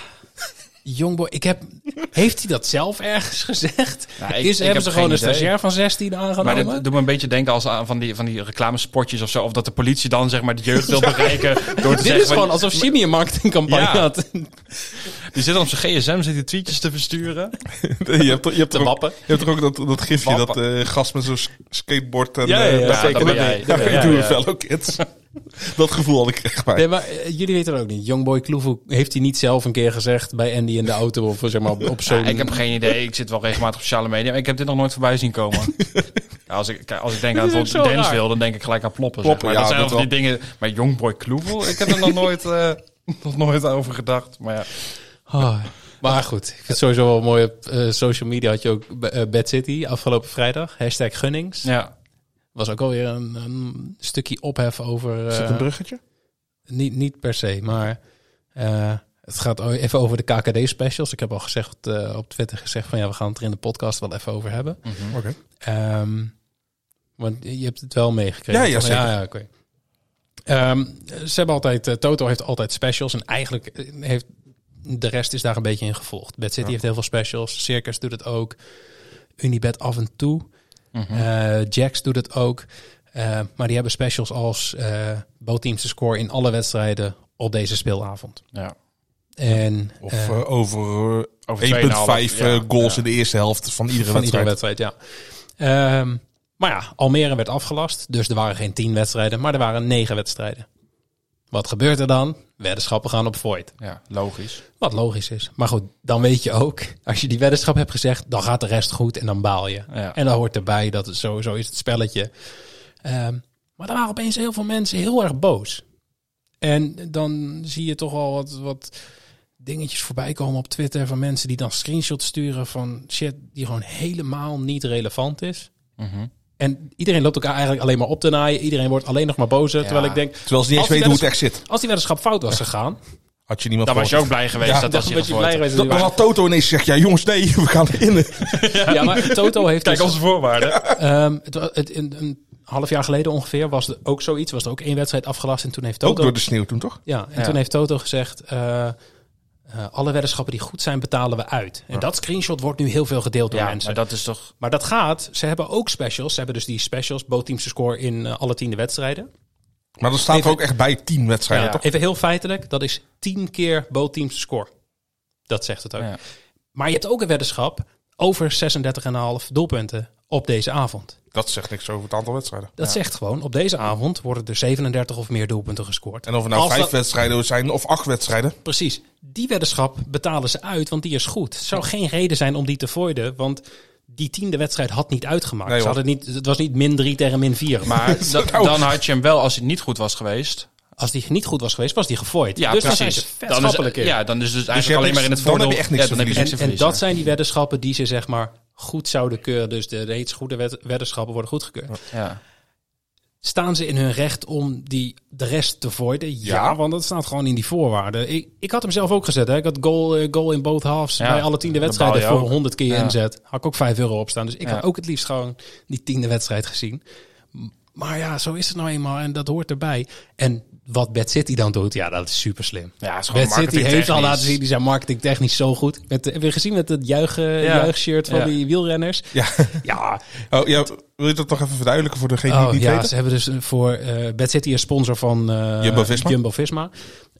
Speaker 1: Jongboy, ik heb, heeft hij dat zelf ergens gezegd?
Speaker 6: Nou, ik-
Speaker 1: Is,
Speaker 6: ik
Speaker 1: hebben
Speaker 6: heb
Speaker 1: ze gewoon
Speaker 6: geen
Speaker 1: een
Speaker 6: idee.
Speaker 1: stagiair van 16
Speaker 6: Maar
Speaker 1: aangenomen?
Speaker 6: dit doet me een beetje denken als aan van die, van die reclamespotjes of zo. Of dat de politie dan zeg maar de jeugd wil bereiken door te
Speaker 1: Dit
Speaker 6: zeggen...
Speaker 1: is gewoon alsof Jimmy een marketingcampagne
Speaker 6: Ja.
Speaker 1: had.
Speaker 6: Die zit op zijn gsm, zit die tweetjes te versturen.
Speaker 7: je hebt, toch- je hebt
Speaker 1: Te
Speaker 7: toch ook,
Speaker 1: wappen.
Speaker 7: je hebt toch ook dat, dat gifje, dat
Speaker 6: Wappen.
Speaker 7: eh gast met zo'n s- skateboard en...
Speaker 1: Ja, ja,
Speaker 7: eh,
Speaker 1: ja,
Speaker 7: dat-
Speaker 1: zeker.
Speaker 7: dat-
Speaker 6: Dat ben jij.
Speaker 7: dat-
Speaker 6: Ja,
Speaker 7: ik
Speaker 6: ja,
Speaker 7: doe
Speaker 6: ja.
Speaker 7: het fellow kids. dat gevoel had ik echt bij.
Speaker 1: Nee, maar eh, jullie weten het ook niet. Youngboy Kloevoe heeft hij niet zelf een keer gezegd bij Andy in de auto of zeg maar op, op zo'n...
Speaker 6: Ja, ik heb geen idee. Ik zit wel regelmatig op sociale media, maar ik heb dit nog nooit voorbij zien komen. Ja, als, ik, kijk, als ik denk aan
Speaker 1: Dit is
Speaker 6: het
Speaker 1: ook
Speaker 6: woord
Speaker 1: zo raar.
Speaker 6: wil, dan denk ik gelijk aan ploppen.
Speaker 7: Ploppen,
Speaker 6: zeg maar.
Speaker 7: ja,
Speaker 6: dat zijn
Speaker 7: dat
Speaker 6: altijd die dingen. Maar Youngboy Kloevel, ik heb er nog nooit, eh, nog nooit over gedacht. Maar ja.
Speaker 1: Oh, maar goed, ik vind het sowieso wel mooi. Op eh, social media had je ook eh, Bad City afgelopen vrijdag. Hashtag Gunnings.
Speaker 6: ja.
Speaker 1: Was ook alweer een, een stukje ophef over... eh,
Speaker 7: bruggetje?
Speaker 1: Niet, niet per se, maar eh, het gaat o- even over de KKD-specials. Ik heb al gezegd eh, op Twitter gezegd van ja, we gaan het er in de podcast wel even over hebben.
Speaker 7: Oké.
Speaker 1: Ehm, want je hebt het wel meegekregen.
Speaker 7: Ja, ja,
Speaker 1: toch?
Speaker 7: zeker.
Speaker 1: ja, oké. Ehm, ze hebben altijd, eh, Toto heeft altijd specials en eigenlijk eh, heeft de rest is daar een beetje in gevolgd. Bad City heeft heel veel specials, Circus doet het ook, Unibet af en toe, Eh, Jax doet het ook. Eh, maar die hebben specials als eh bootteams te scoren in alle wedstrijden op deze speelavond.
Speaker 6: ja.
Speaker 1: En
Speaker 7: Of
Speaker 1: eh,
Speaker 7: eh, over eh,
Speaker 6: Over
Speaker 7: 1,5 eh,
Speaker 6: ja,
Speaker 7: goals
Speaker 6: ja.
Speaker 7: in de eerste helft van iedere
Speaker 1: van iedere
Speaker 7: wedstrijd.
Speaker 1: wedstrijd, ja. Ehm, maar ja, Almere werd afgelast. Dus er waren geen tien wedstrijden, maar er waren negen wedstrijden. Wat gebeurt er dan? Weddenschappen gaan op void.
Speaker 6: Ja, logisch.
Speaker 1: Wat logisch is. Maar goed, dan weet je ook, als je die weddenschap hebt gezegd, dan gaat de rest goed en dan baal je.
Speaker 6: Ja.
Speaker 1: En dan hoort erbij dat het sowieso is het spelletje. Ehm, maar er waren opeens heel veel mensen heel erg boos. En dan zie je toch al wat, wat dingetjes voorbij komen op Twitter van mensen die dan screenshots sturen van shit die gewoon helemaal niet relevant is.
Speaker 6: Mhm.
Speaker 1: En iedereen loopt elkaar eigenlijk alleen maar op te naaien. Iedereen wordt alleen nog maar bozer. Terwijl
Speaker 6: Ja.
Speaker 1: ik denk,
Speaker 7: Terwijl ze niet eens
Speaker 1: Als die
Speaker 7: weten hoe het echt zit.
Speaker 1: als die weddenschap fout was gegaan,
Speaker 7: Had je niemand
Speaker 6: Dan was je ook
Speaker 7: gehoord.
Speaker 6: blij geweest
Speaker 7: Ja,
Speaker 6: dat
Speaker 7: dan
Speaker 6: als je
Speaker 1: Een beetje blij
Speaker 6: gehoord had.
Speaker 1: geweest.
Speaker 7: Dan, dan had Toto ineens gezegd, ja jongens, nee, we gaan in.
Speaker 1: Ja, maar Toto heeft
Speaker 6: Kijk,
Speaker 1: dus-
Speaker 6: onze voorwaarden.
Speaker 1: Ehm, het, wa- het- een, een half jaar geleden ongeveer was er ook zoiets. Was er ook één wedstrijd afgelast en toen heeft
Speaker 7: Ook
Speaker 1: Toto...
Speaker 7: door de sneeuw toen, toch?
Speaker 1: Ja, en
Speaker 6: Ja.
Speaker 1: toen heeft Toto gezegd... eh, eh, alle weddenschappen die goed zijn, betalen we uit. En dat screenshot wordt nu heel veel gedeeld door
Speaker 6: Ja,
Speaker 1: mensen.
Speaker 6: maar dat is toch...
Speaker 1: Maar dat gaat. Ze hebben ook specials. Ze hebben dus die specials. Bootteamse score in eh, alle tiende wedstrijden.
Speaker 7: Maar dan staat er
Speaker 1: Even-
Speaker 7: ook echt bij tien wedstrijden,
Speaker 6: Ja.
Speaker 7: toch?
Speaker 1: Even heel feitelijk. Dat is tien keer bootteamse score. Dat zegt het ook.
Speaker 6: Ja.
Speaker 1: Maar je hebt ook een weddenschap over 36,5 doelpunten op deze avond.
Speaker 7: Dat zegt niks over het aantal wedstrijden.
Speaker 1: Dat zegt gewoon, op deze avond worden er 37 of meer doelpunten gescoord.
Speaker 7: En of er nou
Speaker 1: Als
Speaker 7: vijf
Speaker 1: dat-
Speaker 7: wedstrijden zijn of acht wedstrijden.
Speaker 1: Precies. Die weddenschap betalen ze uit, want die is goed. Het zou geen reden zijn om die te voiden, want die tiende wedstrijd had niet uitgemaakt.
Speaker 7: Nee,
Speaker 1: ze
Speaker 7: hoor.
Speaker 1: hadden niet, het was niet min 3 tegen min 4. Maar
Speaker 6: Maar da- dan had je hem wel, als het niet goed was geweest...
Speaker 1: als die niet goed was geweest, was die gevooid.
Speaker 6: Ja,
Speaker 1: dus dan zijn ze
Speaker 6: precies. Dan
Speaker 1: vetschappelijk
Speaker 6: is,
Speaker 1: in.
Speaker 6: ja, dan is dus
Speaker 7: je hebt
Speaker 6: eigenlijk alleen maar in
Speaker 7: niks-
Speaker 6: het
Speaker 7: dan heb
Speaker 6: voordeel...
Speaker 7: je echt niks
Speaker 6: ja, dan heb je
Speaker 7: te
Speaker 6: niks te
Speaker 1: En, en
Speaker 6: verliezen.
Speaker 1: dat zijn die weddenschappen die ze zeg maar goed zouden keuren. Dus de reeds goede wed- weddenschappen worden goedgekeurd.
Speaker 6: Ja.
Speaker 1: Staan ze in hun recht om die, de rest te voiden? Ja,
Speaker 7: Ja.
Speaker 1: want dat staat gewoon in die voorwaarden. Ik, ik had hem zelf ook gezet. Hè. Ik had goal, eh, goal in both halves
Speaker 6: Ja,
Speaker 1: bij alle tiende
Speaker 6: dan
Speaker 1: wedstrijden
Speaker 6: baal je
Speaker 1: voor
Speaker 6: ook.
Speaker 1: 100 keer
Speaker 6: Ja.
Speaker 1: inzet. Had ik ook 5 euro op staan. Dus ik
Speaker 6: Ja.
Speaker 1: had ook het liefst gewoon die tiende wedstrijd gezien. M- Maar ja, zo is het nou eenmaal en dat hoort erbij. En wat Bad City dan doet, ja, dat is super slim.
Speaker 6: Ja, het is gewoon
Speaker 1: Bad City heeft al
Speaker 6: marketingtechnisch.
Speaker 1: laten zien, die zijn marketingtechnisch zo goed. Met, heb je gezien met het juichen, juichshirt van
Speaker 6: Ja.
Speaker 1: die wielrenners?
Speaker 7: Ja.
Speaker 1: Ja,
Speaker 7: Oh, ja, wil je dat toch even verduidelijken voor degene die
Speaker 1: Oh
Speaker 7: het niet
Speaker 1: ja,
Speaker 7: weten?
Speaker 1: ze hebben dus voor eh Bad City een sponsor van eh,
Speaker 7: Jumbo-Visma.
Speaker 1: Jumbo-Visma.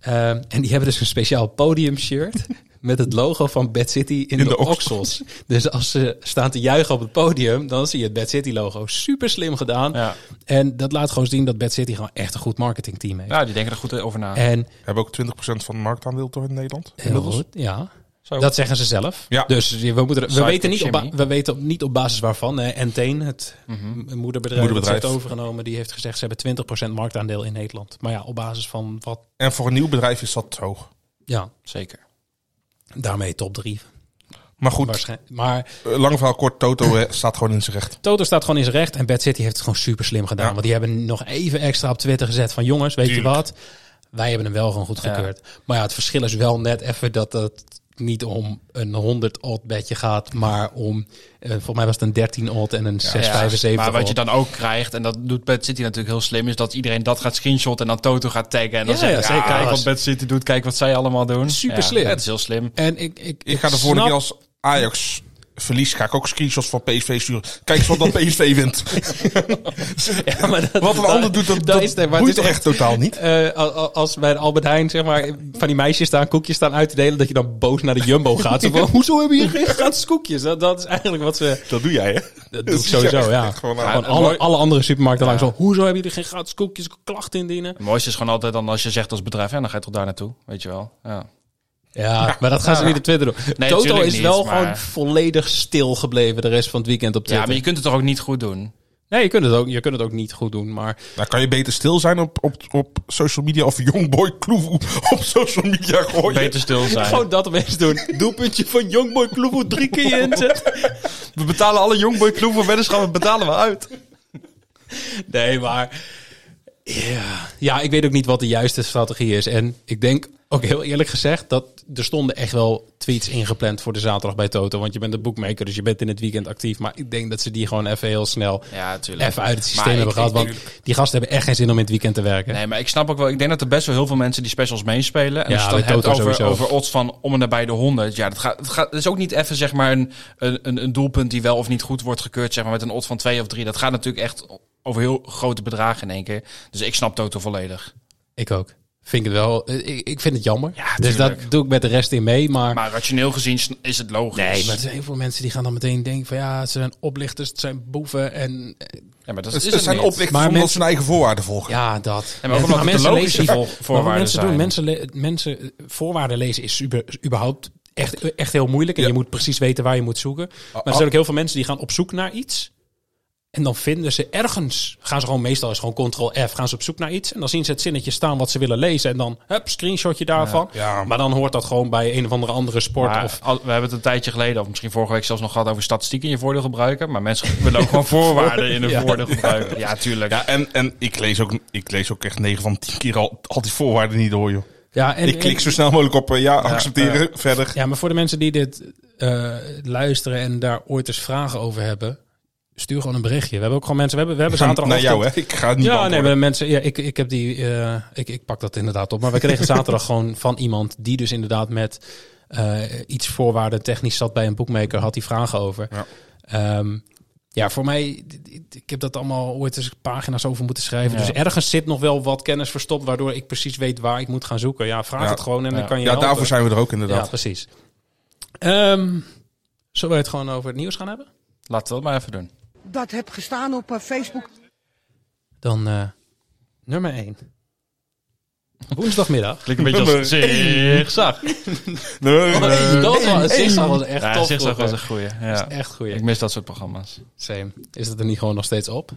Speaker 1: Eh, en die hebben dus een speciaal podiumshirt met het logo van Bad City in, de,
Speaker 7: de oksels.
Speaker 1: oksels. Dus als ze staan te juichen op het podium, dan zie je het Bad City logo. Super slim gedaan.
Speaker 6: Ja.
Speaker 1: En dat laat gewoon zien dat Bad City gewoon echt een goed marketingteam heeft.
Speaker 6: ja, die denken er goed over na.
Speaker 1: En
Speaker 7: We hebben ook 20% van de marktaandeel toch in Nederland?
Speaker 1: heel goed, ja.
Speaker 6: Zo.
Speaker 1: Dat zeggen ze zelf.
Speaker 7: Ja.
Speaker 1: Dus je- we, moeten, er- we,
Speaker 6: Sidekick
Speaker 1: weten niet op ba-
Speaker 6: Jimmy.
Speaker 1: we weten op, niet op basis waarvan. eh, Entain, het m- moederbedrijf, dat ze
Speaker 7: Mhm. Moederbedrijf.
Speaker 1: heeft overgenomen, die heeft gezegd ze hebben 20% marktaandeel in Nederland. Maar ja, op basis van wat,
Speaker 7: En voor een nieuw bedrijf is dat te hoog.
Speaker 1: ja,
Speaker 6: Zeker.
Speaker 1: daarmee top 3
Speaker 7: Maar goed,
Speaker 1: waarschijnlijk. Maar
Speaker 7: eh, lang verhaal kort, Toto eh, staat gewoon in zijn recht.
Speaker 1: Toto staat gewoon in zijn recht en Bad City heeft het gewoon super slim gedaan.
Speaker 7: Ja.
Speaker 1: Want die hebben nog even extra op Twitter gezet van jongens, weet
Speaker 7: Tuurlijk.
Speaker 1: je wat? Wij hebben hem wel gewoon goed
Speaker 6: Ja.
Speaker 1: gekeurd. Maar ja, het verschil is wel net even dat het niet om een 100 odd bedje gaat, maar om, eh, volgens mij was het een 13 odd en een 675
Speaker 6: Maar wat
Speaker 1: odd.
Speaker 6: je dan ook krijgt, en dat doet Bad City natuurlijk heel slim, is dat iedereen dat gaat screenshot en dan Toto gaat taggen. En dan
Speaker 1: Ja,
Speaker 6: zegt
Speaker 1: ja,
Speaker 6: hij,
Speaker 1: zeker.
Speaker 6: kijk
Speaker 1: Dat
Speaker 6: wat
Speaker 1: is-
Speaker 6: Bad City doet, kijk wat zij allemaal doen.
Speaker 1: Super
Speaker 6: Ja,
Speaker 1: slim.
Speaker 6: Het is heel slim.
Speaker 1: En ik, ik,
Speaker 7: Ik ga de
Speaker 1: snap-
Speaker 7: volgende keer als Ajax verlies, ga ik ook screenshots van PSV sturen. Kijk eens wat dat PSV wint.
Speaker 1: Ja, maar dat-
Speaker 7: Wat een
Speaker 1: dat-
Speaker 7: ander doet, dat,
Speaker 1: dat
Speaker 7: dat
Speaker 1: is het, maar het
Speaker 7: boeit
Speaker 1: is
Speaker 7: toch echt totaal niet?
Speaker 1: eh, al- al- als bij de Albert Heijn, zeg maar, van die meisjes daar koekjes staan uit te delen, dat je dan boos naar de Jumbo gaat. Zo van, hoezo hebben jullie geen gratis koekjes? Dat, dat is eigenlijk wat ze...
Speaker 7: Dat doe jij, hè?
Speaker 1: Dat doe ik sowieso, ja.
Speaker 7: gewoon aan.
Speaker 1: Gewoon
Speaker 6: Ja,
Speaker 1: alle,
Speaker 6: mooi.
Speaker 1: alle andere supermarkten langs van, hoezo hebben jullie geen gratis koekjes? Klachten indienen.
Speaker 6: Het mooiste is gewoon altijd dan als je zegt als bedrijf, ja, dan ga je toch daar naartoe, weet je wel. Ja.
Speaker 1: Ja, maar dat gaan ze niet op Twitter doen.
Speaker 6: Nee,
Speaker 1: Toto
Speaker 6: tuurlijk
Speaker 1: is
Speaker 6: niet,
Speaker 1: wel
Speaker 6: maar-
Speaker 1: gewoon volledig stil gebleven de rest van het weekend op
Speaker 6: ja,
Speaker 1: Twitter.
Speaker 6: maar je kunt het toch ook niet goed doen?
Speaker 1: Nee, je kunt, het ook, je kunt het ook niet goed doen, maar...
Speaker 7: Nou, kan je beter stil zijn op, op, op social media of Youngboy Kloevoe op social media gooien.
Speaker 6: Beter stil zijn.
Speaker 1: Gewoon dat opeens doen. Doelpuntje van Youngboy Kloevoe drie keer inzet.
Speaker 6: we betalen alle Youngboy Club voor weddenschappen, betalen we uit.
Speaker 1: Nee, maar. Ja. ja, ik weet ook niet wat de juiste strategie is. En ik denk ook heel eerlijk gezegd dat er stonden echt wel tweets ingepland voor de zaterdag bij Toto. Want je bent de boekmaker, dus je bent in het weekend actief. Maar ik denk dat ze die gewoon even heel snel
Speaker 6: Ja, natuurlijk.
Speaker 1: even uit het systeem
Speaker 6: Maar ik-
Speaker 1: hebben gehad.
Speaker 6: ik-
Speaker 1: Want die gasten hebben echt geen zin om in het weekend te werken.
Speaker 6: Nee, maar ik snap ook wel. Ik denk dat er best wel heel veel mensen die specials meespelen. En
Speaker 1: Ja,
Speaker 6: als je het
Speaker 1: bij
Speaker 6: dan hebt
Speaker 1: Toto
Speaker 6: over,
Speaker 1: sowieso.
Speaker 6: over odds van om en nabij de 100. Ja, dat, gaat, dat, gaat, dat is ook niet even zeg maar een, een, een doelpunt die wel of niet goed wordt gekeurd. Zeg maar met een odds van 2 of 3. Dat gaat natuurlijk echt over heel grote bedragen in één keer. Dus ik snap Toto volledig.
Speaker 1: Ik ook. Vind ik het wel. eh, Ik, ik vind het jammer.
Speaker 6: Ja,
Speaker 1: dus dat
Speaker 6: tuurlijk.
Speaker 1: doe ik met de rest in mee. Maar,
Speaker 6: Maar rationeel gezien sn- is het logisch.
Speaker 1: nee, maar er zijn heel veel mensen die gaan dan meteen denken van ja, ze zijn oplichters, het zijn boeven en eh,
Speaker 6: ja, maar dat
Speaker 7: Het
Speaker 6: is
Speaker 7: het
Speaker 6: het
Speaker 7: zijn
Speaker 6: niet.
Speaker 7: oplichters
Speaker 1: Maar
Speaker 7: omdat
Speaker 1: mensen-
Speaker 7: ze hun eigen voorwaarden volgen.
Speaker 1: Ja, dat.
Speaker 6: En maar ook omdat het de logische
Speaker 1: lezen-
Speaker 6: vol-
Speaker 1: maar wat
Speaker 6: voorwaarden
Speaker 1: mensen
Speaker 6: zijn.
Speaker 1: Doen, mensen, le- mensen eh, voorwaarden lezen is super, überhaupt echt, echt heel moeilijk. En
Speaker 7: Ja.
Speaker 1: je moet precies weten waar je moet zoeken.
Speaker 6: Ah,
Speaker 1: Maar er zijn ook heel veel mensen die gaan op zoek naar iets. En dan vinden ze ergens, gaan ze gewoon meestal is gewoon ctrl F, gaan ze op zoek naar iets. En dan zien ze het zinnetje staan wat ze willen lezen. En dan, hup, screenshotje daarvan.
Speaker 7: ja.
Speaker 1: Maar dan hoort dat gewoon bij een of andere andere sport.
Speaker 6: Maar
Speaker 1: of,
Speaker 6: al- we hebben het een tijdje geleden, of misschien vorige week zelfs nog gehad over statistieken in je voordeel gebruiken. Maar mensen willen ook gewoon voorwaarden in hun
Speaker 1: Ja.
Speaker 6: voordeel gebruiken. Ja, tuurlijk.
Speaker 7: Ja, en, en ik, lees ook, ik lees ook echt 9 van 10 keer al, al die voorwaarden niet door, joh.
Speaker 1: Ja, en,
Speaker 7: ik klik
Speaker 1: en-
Speaker 7: zo snel mogelijk op eh, ja, accepteren, verder.
Speaker 1: ja, maar voor de mensen die dit eh, luisteren en daar ooit eens vragen over hebben, stuur gewoon een berichtje. We hebben ook gewoon mensen. We hebben, we hebben zaterdag
Speaker 7: Naar jou, hè? Ik ga het niet
Speaker 1: Ja, nee,
Speaker 7: beantwoorden.
Speaker 1: maar mensen, ja, ik, ik, heb die, eh, ik, ik pak dat inderdaad op. Maar we kregen zaterdag gewoon van iemand die dus inderdaad met eh, iets voorwaarden technisch zat bij een boekmaker, had die vragen over.
Speaker 7: Ja.
Speaker 1: Ja, ja voor mij, d- d- ik heb dat allemaal ooit eens pagina's over moeten schrijven. Dus ergens zit nog wel wat kennis verstopt, waardoor ik precies weet waar ik moet gaan zoeken. Ja, vraag
Speaker 7: Ja.
Speaker 1: het gewoon en
Speaker 6: Ja.
Speaker 1: dan kan je
Speaker 7: ja,
Speaker 1: helpen.
Speaker 7: daarvoor zijn we er ook
Speaker 1: Ja,
Speaker 7: inderdaad.
Speaker 1: precies. Ehm, zullen we het gewoon over het nieuws gaan hebben?
Speaker 6: Laten we dat maar even doen.
Speaker 8: dat heb gestaan op eh, Facebook.
Speaker 1: Dan eh, nummer 1. Woensdagmiddag.
Speaker 6: Klinkt een beetje als zigzag.
Speaker 7: Nee, nee.
Speaker 1: Dat was, Zigzag was echt
Speaker 6: Ja,
Speaker 1: tof.
Speaker 6: zigzag was
Speaker 1: vroeger.
Speaker 6: een goeie.
Speaker 1: Dat
Speaker 6: Ja.
Speaker 1: is echt
Speaker 6: Ik
Speaker 1: goeie.
Speaker 6: mis dat soort programma's.
Speaker 1: Same. Is dat er niet gewoon nog steeds op?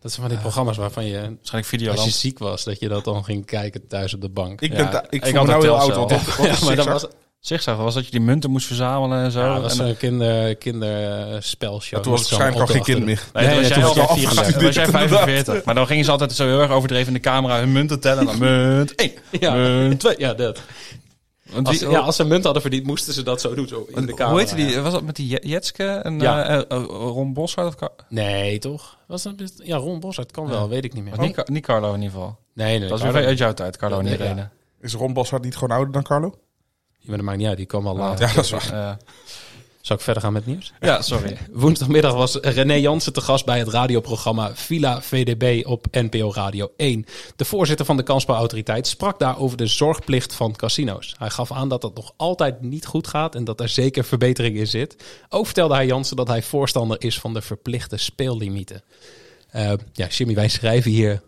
Speaker 1: Dat zijn van die programma's waarvan je,
Speaker 6: Waarschijnlijk
Speaker 1: als je
Speaker 6: Videoland.
Speaker 1: ziek was, dat je dat dan ging kijken thuis op de bank.
Speaker 7: Ik,
Speaker 6: Ja,
Speaker 7: ben ta-
Speaker 6: ik
Speaker 7: ik voel me
Speaker 6: had
Speaker 7: nou
Speaker 6: het
Speaker 7: heel oud.
Speaker 6: Telcel.
Speaker 7: Want wat, wat
Speaker 1: ja,
Speaker 7: is
Speaker 1: maar dat
Speaker 7: zigzag?
Speaker 1: was,
Speaker 6: Zigzag was dat je die munten moest verzamelen en zo.
Speaker 1: ja, dat was
Speaker 6: en
Speaker 1: een kinder, kinderspelshow.
Speaker 7: Ja, toen was ik
Speaker 1: Zo'n
Speaker 7: waarschijnlijk al geen
Speaker 1: opdracht.
Speaker 7: kind meer.
Speaker 6: Nee,
Speaker 1: Nee,
Speaker 6: toen was
Speaker 1: nee,
Speaker 6: jij
Speaker 1: toen was
Speaker 6: al
Speaker 1: jij
Speaker 7: afgestudeerd.
Speaker 1: 44.
Speaker 6: toen was jij
Speaker 7: inderdaad.
Speaker 6: 45. Maar dan gingen ze altijd zo heel erg overdreven in de camera hun munten tellen. Dan munt 1,
Speaker 1: Ja,
Speaker 7: Eh.
Speaker 6: munt 2.
Speaker 1: twee- ja, dat.
Speaker 6: Want
Speaker 1: Als,
Speaker 6: wie-
Speaker 1: ja, als ze munt hadden verdiend, moesten ze dat zo doen. Zo in de
Speaker 6: hoe
Speaker 1: camera.
Speaker 6: heette die? Was dat met die Je- Jetske en
Speaker 1: Ja.
Speaker 6: eh, eh, eh, Ron Boshart? Of Ka-
Speaker 1: Nee, toch? Was dat, best- ja, Ron Bos, dat kan wel, weet ik niet meer.
Speaker 6: Maar niet, Ca- niet Carlo in ieder geval.
Speaker 1: Nee, nee,
Speaker 6: Oh. Dat is
Speaker 1: Carlo.
Speaker 6: weer uit jouw tijd, Carlo en
Speaker 1: Ja,
Speaker 6: Irene.
Speaker 7: Is Ron Boshart niet gewoon ouder dan Carlo?
Speaker 1: Ja, Maar dat maakt niet uit, die kwam al later.
Speaker 7: Ja, dat is waar.
Speaker 6: Eh,
Speaker 1: Zal ik verder gaan met het nieuws?
Speaker 6: ja, sorry.
Speaker 1: Woensdagmiddag was René Jansen te gast bij het radioprogramma Villa VDB op NPO Radio 1. De voorzitter van de kansspelautoriteit sprak daar over de zorgplicht van casino's. Hij gaf aan dat dat nog altijd niet goed gaat en dat er zeker verbetering in zit. Ook vertelde hij Jansen dat hij voorstander is van de verplichte speellimieten. Eh, ja, Jimmy, wij schrijven hier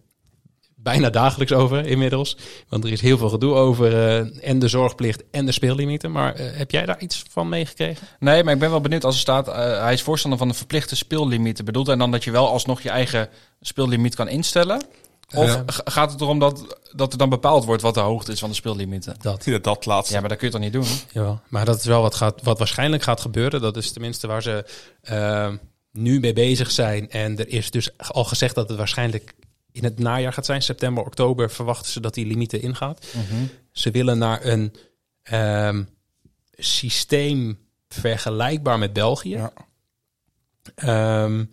Speaker 1: bijna dagelijks over inmiddels. Want er is heel veel gedoe over eh, en de zorgplicht en de speellimieten. Maar eh, heb jij daar iets van meegekregen?
Speaker 6: Nee, maar ik ben wel benieuwd als er staat... eh, hij is voorstander van de verplichte speellimieten. Bedoelt hij dan dat je wel alsnog je eigen speellimiet kan instellen? Of
Speaker 1: Ja.
Speaker 6: g- gaat het erom dat, dat er dan bepaald wordt wat de hoogte is van de speellimieten?
Speaker 1: Dat.
Speaker 7: Ja, dat laatste.
Speaker 6: Ja, maar dat kun je toch niet doen?
Speaker 1: Jawel, maar dat is wel wat, gaat, wat waarschijnlijk gaat gebeuren. Dat is tenminste waar ze eh, nu mee bezig zijn. En er is dus al gezegd dat het waarschijnlijk in het najaar gaat zijn. September, oktober verwachten ze dat die limieten ingaat. Ze willen naar een ehm, systeem vergelijkbaar met België.
Speaker 7: Ja.
Speaker 1: Ehm,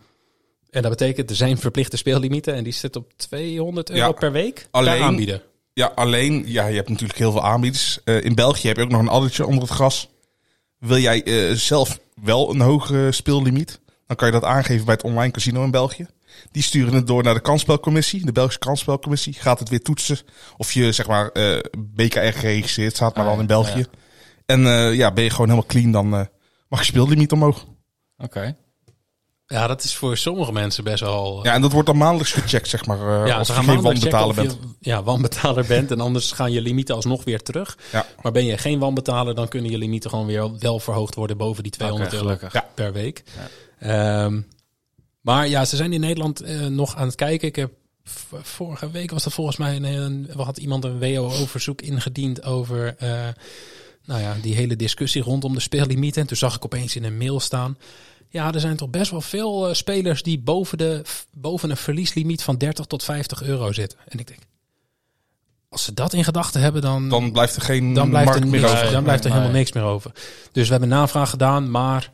Speaker 1: en dat betekent, er zijn verplichte speellimieten. En die zit op 200 euro
Speaker 7: Ja.
Speaker 1: per week
Speaker 7: Alleen-
Speaker 1: per aanbieder.
Speaker 7: Ja, alleen, ja, je hebt natuurlijk heel veel aanbieders. Eh, in België heb je ook nog een addertje onder het gras. Wil jij eh, zelf wel een hogere speellimiet? Dan kan je dat aangeven bij het online casino in België. Die sturen het door naar de kansspelcommissie. De Belgische kansspelcommissie gaat het weer toetsen. Of je, zeg maar, eh, BKR geregistreerd staat, maar
Speaker 6: Ah,
Speaker 7: dan in
Speaker 6: ja,
Speaker 7: België.
Speaker 6: ja.
Speaker 7: En eh, ja, ben je gewoon helemaal clean, dan eh, mag je speellimiet omhoog.
Speaker 6: Oké.
Speaker 1: Ja, dat is voor sommige mensen best wel... eh,
Speaker 7: Ja, en dat wordt dan maandelijks gecheckt, zeg maar. eh,
Speaker 1: Ja, ze
Speaker 7: of je
Speaker 1: gaan
Speaker 7: geen
Speaker 1: maandelijk checken
Speaker 7: wanbetaler
Speaker 1: of
Speaker 7: bent.
Speaker 1: je ja, wanbetaler bent. En anders gaan je limieten alsnog weer terug.
Speaker 7: Ja.
Speaker 1: Maar ben je geen wanbetaler, dan kunnen je limieten gewoon weer wel verhoogd worden boven die 200
Speaker 6: Oké,
Speaker 1: euro
Speaker 6: gelukkig.
Speaker 1: per week. Ehm, maar ja, ze zijn in Nederland eh, nog aan het kijken. Ik heb v- vorige week was er volgens mij een, een- we had iemand een WO-verzoek ingediend over eh, nou ja, die hele discussie rondom de speellimieten. En toen zag ik opeens in een mail staan. Ja, er zijn toch best wel veel eh, spelers die boven, de, f- boven een verlieslimiet van 30 tot 50 euro zitten. En ik denk, als ze dat in gedachten hebben, dan,
Speaker 7: Dan blijft er geen
Speaker 1: dan blijft
Speaker 7: markt
Speaker 1: er,
Speaker 7: meer
Speaker 1: niks,
Speaker 7: over.
Speaker 1: dan blijft er
Speaker 6: Mm, Nee.
Speaker 1: helemaal niks meer over. Dus we hebben navraag gedaan, maar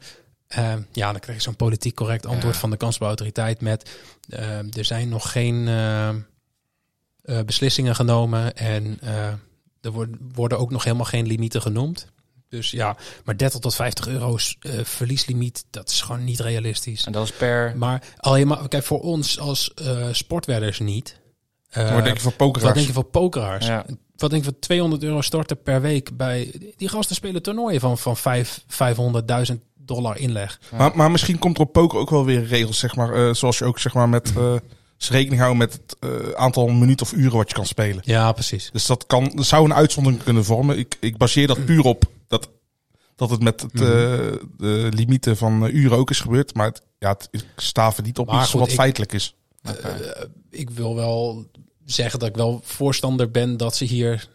Speaker 1: eh, ja, dan kreeg ik zo'n politiek correct antwoord van de kansbouwautoriteit met eh, er zijn nog geen eh, eh, beslissingen genomen en eh, er worden, worden ook nog helemaal geen limieten genoemd. Dus ja, maar 30 tot 50 euro's eh, verlieslimiet, dat is gewoon niet realistisch.
Speaker 6: En dat is per...
Speaker 1: Maar alleen maar, kijk, voor ons als eh sportwedders niet. Eh,
Speaker 7: Wat denk je van pokeraars?
Speaker 1: wat denk je van pokeraars?
Speaker 6: Ja.
Speaker 1: Wat denk je van 200 euro storten per week bij... Die gasten spelen toernooien van, van vijf- 500.000 dollar inleg.
Speaker 7: Maar, maar misschien komt er op poker ook wel weer regels, zeg maar. eh, zoals je ook, zeg maar, met eh, ze rekening houden met het eh, aantal minuten of uren wat je kan spelen.
Speaker 1: Ja, precies.
Speaker 7: Dus dat, kan, dat zou een uitzondering kunnen vormen. Ik, ik baseer dat puur op dat, dat het met
Speaker 1: Mhm.
Speaker 7: het, eh, de limieten van eh, uren ook is gebeurd. Maar het, ja, het, ik staven niet op
Speaker 1: Maar
Speaker 7: iets
Speaker 1: goed,
Speaker 7: wat
Speaker 1: ik- Eh,
Speaker 7: feitelijk is.
Speaker 1: Ik wil wel zeggen dat ik wel voorstander ben dat ze hier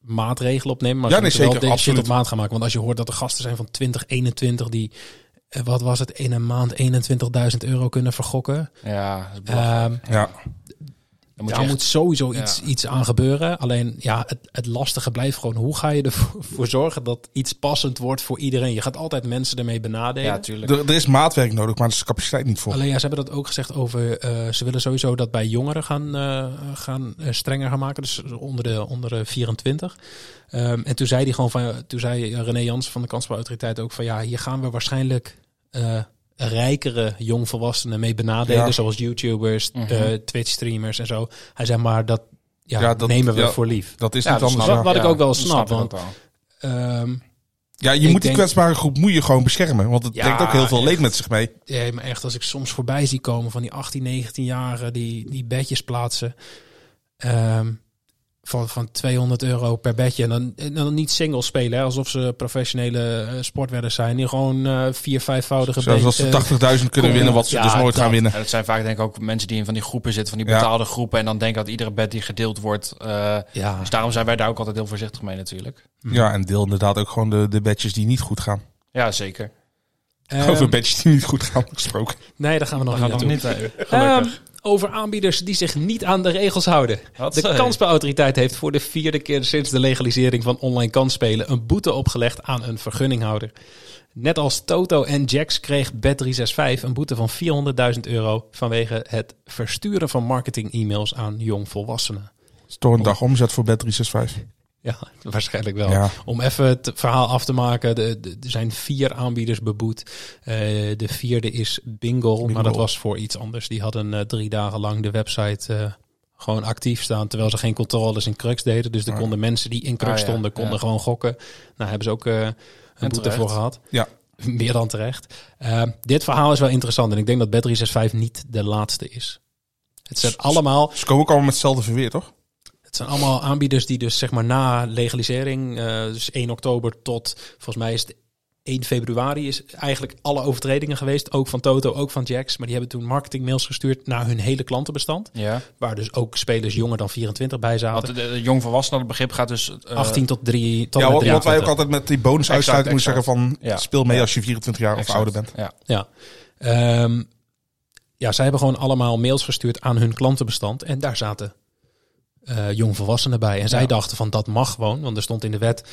Speaker 1: maatregelen opnemen. Maar
Speaker 7: Ja,
Speaker 1: ze
Speaker 7: nee,
Speaker 1: moeten wel
Speaker 7: zeker,
Speaker 1: deze shit op
Speaker 7: absoluut.
Speaker 1: maat gaan maken. Want als je hoort dat er gasten zijn van 2021 die... eh, Wat was het? In een maand 21.000 euro kunnen vergokken.
Speaker 6: Ja, dat is belachelijk.
Speaker 1: Ehm,
Speaker 7: Ja.
Speaker 6: Dan moet
Speaker 1: Daar
Speaker 6: je
Speaker 1: Eh, moet
Speaker 6: echt,
Speaker 1: sowieso
Speaker 6: ja.
Speaker 1: iets, iets aan gebeuren. Alleen ja, het, het lastige blijft gewoon hoe ga je ervoor voor zorgen dat iets passend wordt voor iedereen. Je gaat altijd mensen ermee benadelen.
Speaker 6: ja, tuurlijk.
Speaker 7: Er, er is maatwerk nodig, maar er is de capaciteit niet voor.
Speaker 1: Alleen ja, ze hebben dat ook gezegd over. eh, ze willen sowieso dat bij jongeren gaan, eh, gaan eh, strenger gaan maken. Dus onder de, onder de 24. Ehm, en toen zei hij gewoon van. Toen zei René Jans van de Kansspelautoriteit ook van ja, hier gaan we waarschijnlijk. eh, rijkere jongvolwassenen mee benadelen,
Speaker 7: Ja.
Speaker 1: zoals YouTubers,
Speaker 6: Mhm.
Speaker 1: eh, Twitch-streamers en zo. Hij zei maar dat, ja,
Speaker 7: Ja, dat-
Speaker 1: nemen we
Speaker 7: ja.
Speaker 1: voor lief.
Speaker 7: Dat is
Speaker 6: Ja,
Speaker 7: niet
Speaker 6: dat
Speaker 7: anders.
Speaker 6: snap
Speaker 1: Wat-
Speaker 7: ja.
Speaker 1: wat ik ook wel
Speaker 6: dat
Speaker 1: snap,
Speaker 6: ik
Speaker 1: want-
Speaker 6: ook wel.
Speaker 1: Ehm,
Speaker 7: Ja, je
Speaker 1: ik
Speaker 7: moet die
Speaker 1: denk-
Speaker 7: kwetsbare groep moet je gewoon beschermen. Want het
Speaker 1: Ja,
Speaker 7: brengt ook heel veel leed
Speaker 1: echt.
Speaker 7: met zich mee.
Speaker 1: ja, maar echt, als ik soms voorbij zie komen van die 18, 19-jarigen die, die bedjes plaatsen. ehm, van, van 200 euro per bedje. En dan, en dan niet single spelen, hè, alsof ze professionele eh, sportwedders zijn. Die gewoon eh, vier, vijfvoudige eh,
Speaker 7: Zoals als
Speaker 1: bedjes.
Speaker 7: ze 80.000 kunnen
Speaker 1: kom-
Speaker 7: winnen, wat ze
Speaker 1: ja,
Speaker 7: dus nooit gaan
Speaker 1: dat.
Speaker 7: winnen.
Speaker 6: Ja, dat zijn vaak denk ik ook mensen die in van die groepen zitten, van die
Speaker 7: Ja.
Speaker 6: betaalde groepen. En dan denken dat iedere bed die gedeeld wordt. eh,
Speaker 1: ja,
Speaker 6: dus daarom zijn wij daar ook altijd heel voorzichtig mee natuurlijk.
Speaker 7: Ja, en deel inderdaad ook gewoon de, de badges die niet goed gaan.
Speaker 6: Ja, zeker.
Speaker 1: ehm,
Speaker 7: Over badges die niet goed gaan gesproken.
Speaker 1: nee, daar gaan we nog
Speaker 6: Dat gaat
Speaker 1: niet
Speaker 6: nog
Speaker 1: naartoe.
Speaker 6: niet. eh, gelukkig.
Speaker 1: Ehm, over aanbieders die zich niet aan de regels houden.
Speaker 6: Wat
Speaker 1: Ehm, De
Speaker 6: zei je?
Speaker 1: kansspelautoriteit heeft voor de vierde keer sinds de legalisering van online kansspelen een boete opgelegd aan een vergunninghouder. Net als Toto en Jax kreeg Bet365 een boete van 400.000 euro vanwege het versturen van marketing-e-mails aan jongvolwassenen.
Speaker 7: Het is toch een dag omzet voor bed 365.
Speaker 1: Ja, waarschijnlijk wel.
Speaker 7: Ja.
Speaker 1: Om even het verhaal af te maken, de- de- er zijn vier aanbieders beboet. Eh, de vierde is Bingo, maar dat was voor iets anders. Die hadden eh, drie dagen lang de website eh, gewoon actief staan, terwijl ze geen controles in crux deden. Dus er
Speaker 7: Ah.
Speaker 1: konden mensen die in crux
Speaker 6: Ah, ja,
Speaker 1: stonden, konden
Speaker 6: ja.
Speaker 1: gewoon gokken. Nou, hebben ze ook eh, een boete
Speaker 6: terecht.
Speaker 1: voor gehad.
Speaker 7: Ja.
Speaker 1: Meer dan terecht. Eh, dit verhaal is wel interessant en ik denk dat Bet365 niet de laatste is. Het zijn allemaal
Speaker 7: Dus Ze komen ook allemaal met hetzelfde verweer, toch?
Speaker 1: het zijn allemaal aanbieders die dus zeg maar na legalisering, eh, dus 1 oktober tot volgens mij is het 1 februari, is eigenlijk alle overtredingen geweest. Ook van Toto, ook van Jax. Maar die hebben toen marketingmails gestuurd naar hun hele klantenbestand.
Speaker 6: ja.
Speaker 1: Waar dus ook spelers jonger dan 24 bij
Speaker 6: Want de,
Speaker 1: zaten.
Speaker 6: de jongvolwassenen, dat begrip gaat dus... eh,
Speaker 1: 18 tot 3. Tot
Speaker 7: ja,
Speaker 1: en met
Speaker 7: wat, wat wij ook
Speaker 1: 23.
Speaker 7: altijd met die bonusuitsluiting moeten zeggen van...
Speaker 6: Ja.
Speaker 7: speel mee als je 24 jaar of
Speaker 6: exact.
Speaker 7: ouder bent.
Speaker 6: Ja.
Speaker 1: Ja. Ehm, ja, zij hebben gewoon allemaal mails gestuurd aan hun klantenbestand. En daar zaten eh, jongvolwassenen bij. En zij
Speaker 6: Ja.
Speaker 1: dachten van dat mag gewoon. Want er stond in de wet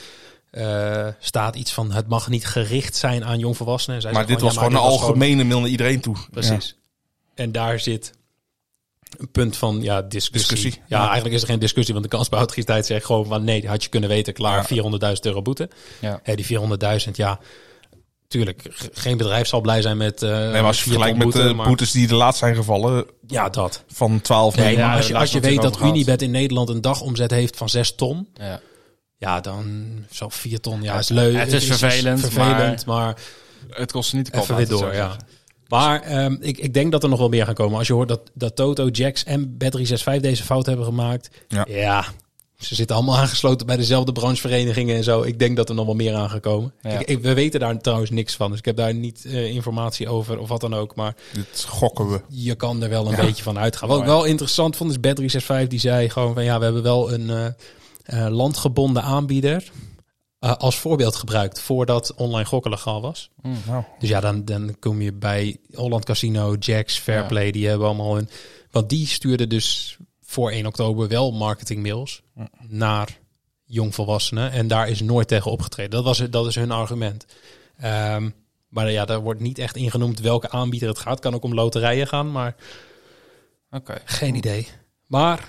Speaker 1: eh, staat iets van het mag niet gericht zijn aan jongvolwassenen. En zij
Speaker 7: Maar dit
Speaker 1: zeiden
Speaker 7: was gewoon een
Speaker 1: ja, maar dit
Speaker 7: algemene mail naar iedereen toe.
Speaker 1: was gewoon- Precies. En daar zit een punt van ja, discussie.
Speaker 7: Discussie,
Speaker 1: Ja,
Speaker 7: ja.
Speaker 1: eigenlijk is er geen discussie. Want de kansbehoudgiestheid zegt gewoon van nee, had je kunnen weten. Klaar, 400.000 euro boete.
Speaker 6: Ja.
Speaker 1: Hè, die 400.000, ja. Tuurlijk, ge- geen bedrijf zal blij zijn met. eh
Speaker 7: Nee, maar als je vergelijkt met eh, de boetes die de laatst zijn gevallen
Speaker 1: Ja, dat.
Speaker 7: van 12
Speaker 1: Nee,
Speaker 7: miljoen.
Speaker 1: maar als je,
Speaker 6: daar
Speaker 1: als je
Speaker 6: is het
Speaker 1: weet dat
Speaker 6: natuurlijk over
Speaker 1: Unibet in Nederland een dagomzet heeft van 6 ton.
Speaker 6: Ja.
Speaker 1: Ja, dan zo 4 ton. Ja, is leuk.
Speaker 6: Het is vervelend,
Speaker 1: vervelend maar,
Speaker 6: Het kost niet de kop
Speaker 1: even weer
Speaker 6: uit, zou
Speaker 1: door.
Speaker 6: ik
Speaker 1: Ja.
Speaker 6: zeggen.
Speaker 1: Maar ehm, ik, ik denk dat er nog wel meer gaan komen. Als je hoort dat, dat Toto, Jax en Bet365 deze fout hebben gemaakt.
Speaker 7: Ja.
Speaker 1: ze zitten allemaal aangesloten bij dezelfde brancheverenigingen en zo. Ik denk dat er nog wel meer aan gaan komen.
Speaker 6: Ja.
Speaker 1: Ik, ik- we weten daar trouwens niks van. Dus ik heb daar niet eh, informatie over of wat dan ook. Maar
Speaker 7: Dit gokken we.
Speaker 1: je kan er wel een beetje van uitgaan. Wat ik wel interessant vond is Bet365 die zei gewoon van ja, we hebben wel een eh, eh, landgebonden aanbieder eh, als voorbeeld gebruikt voordat online gokken legaal was.
Speaker 7: nou.
Speaker 1: Dus ja, dan, dan kom je bij Holland Casino, Jacks, Fairplay, die hebben allemaal hun... Want die stuurden dus voor 1 oktober wel marketingmails naar jongvolwassenen. En daar is nooit tegen opgetreden. Dat, was, het- dat is hun argument. Ehm, maar ja, daar wordt niet echt ingenoemd welke aanbieder het gaat. kan ook om loterijen gaan, maar
Speaker 6: Oké.
Speaker 1: geen idee. Maar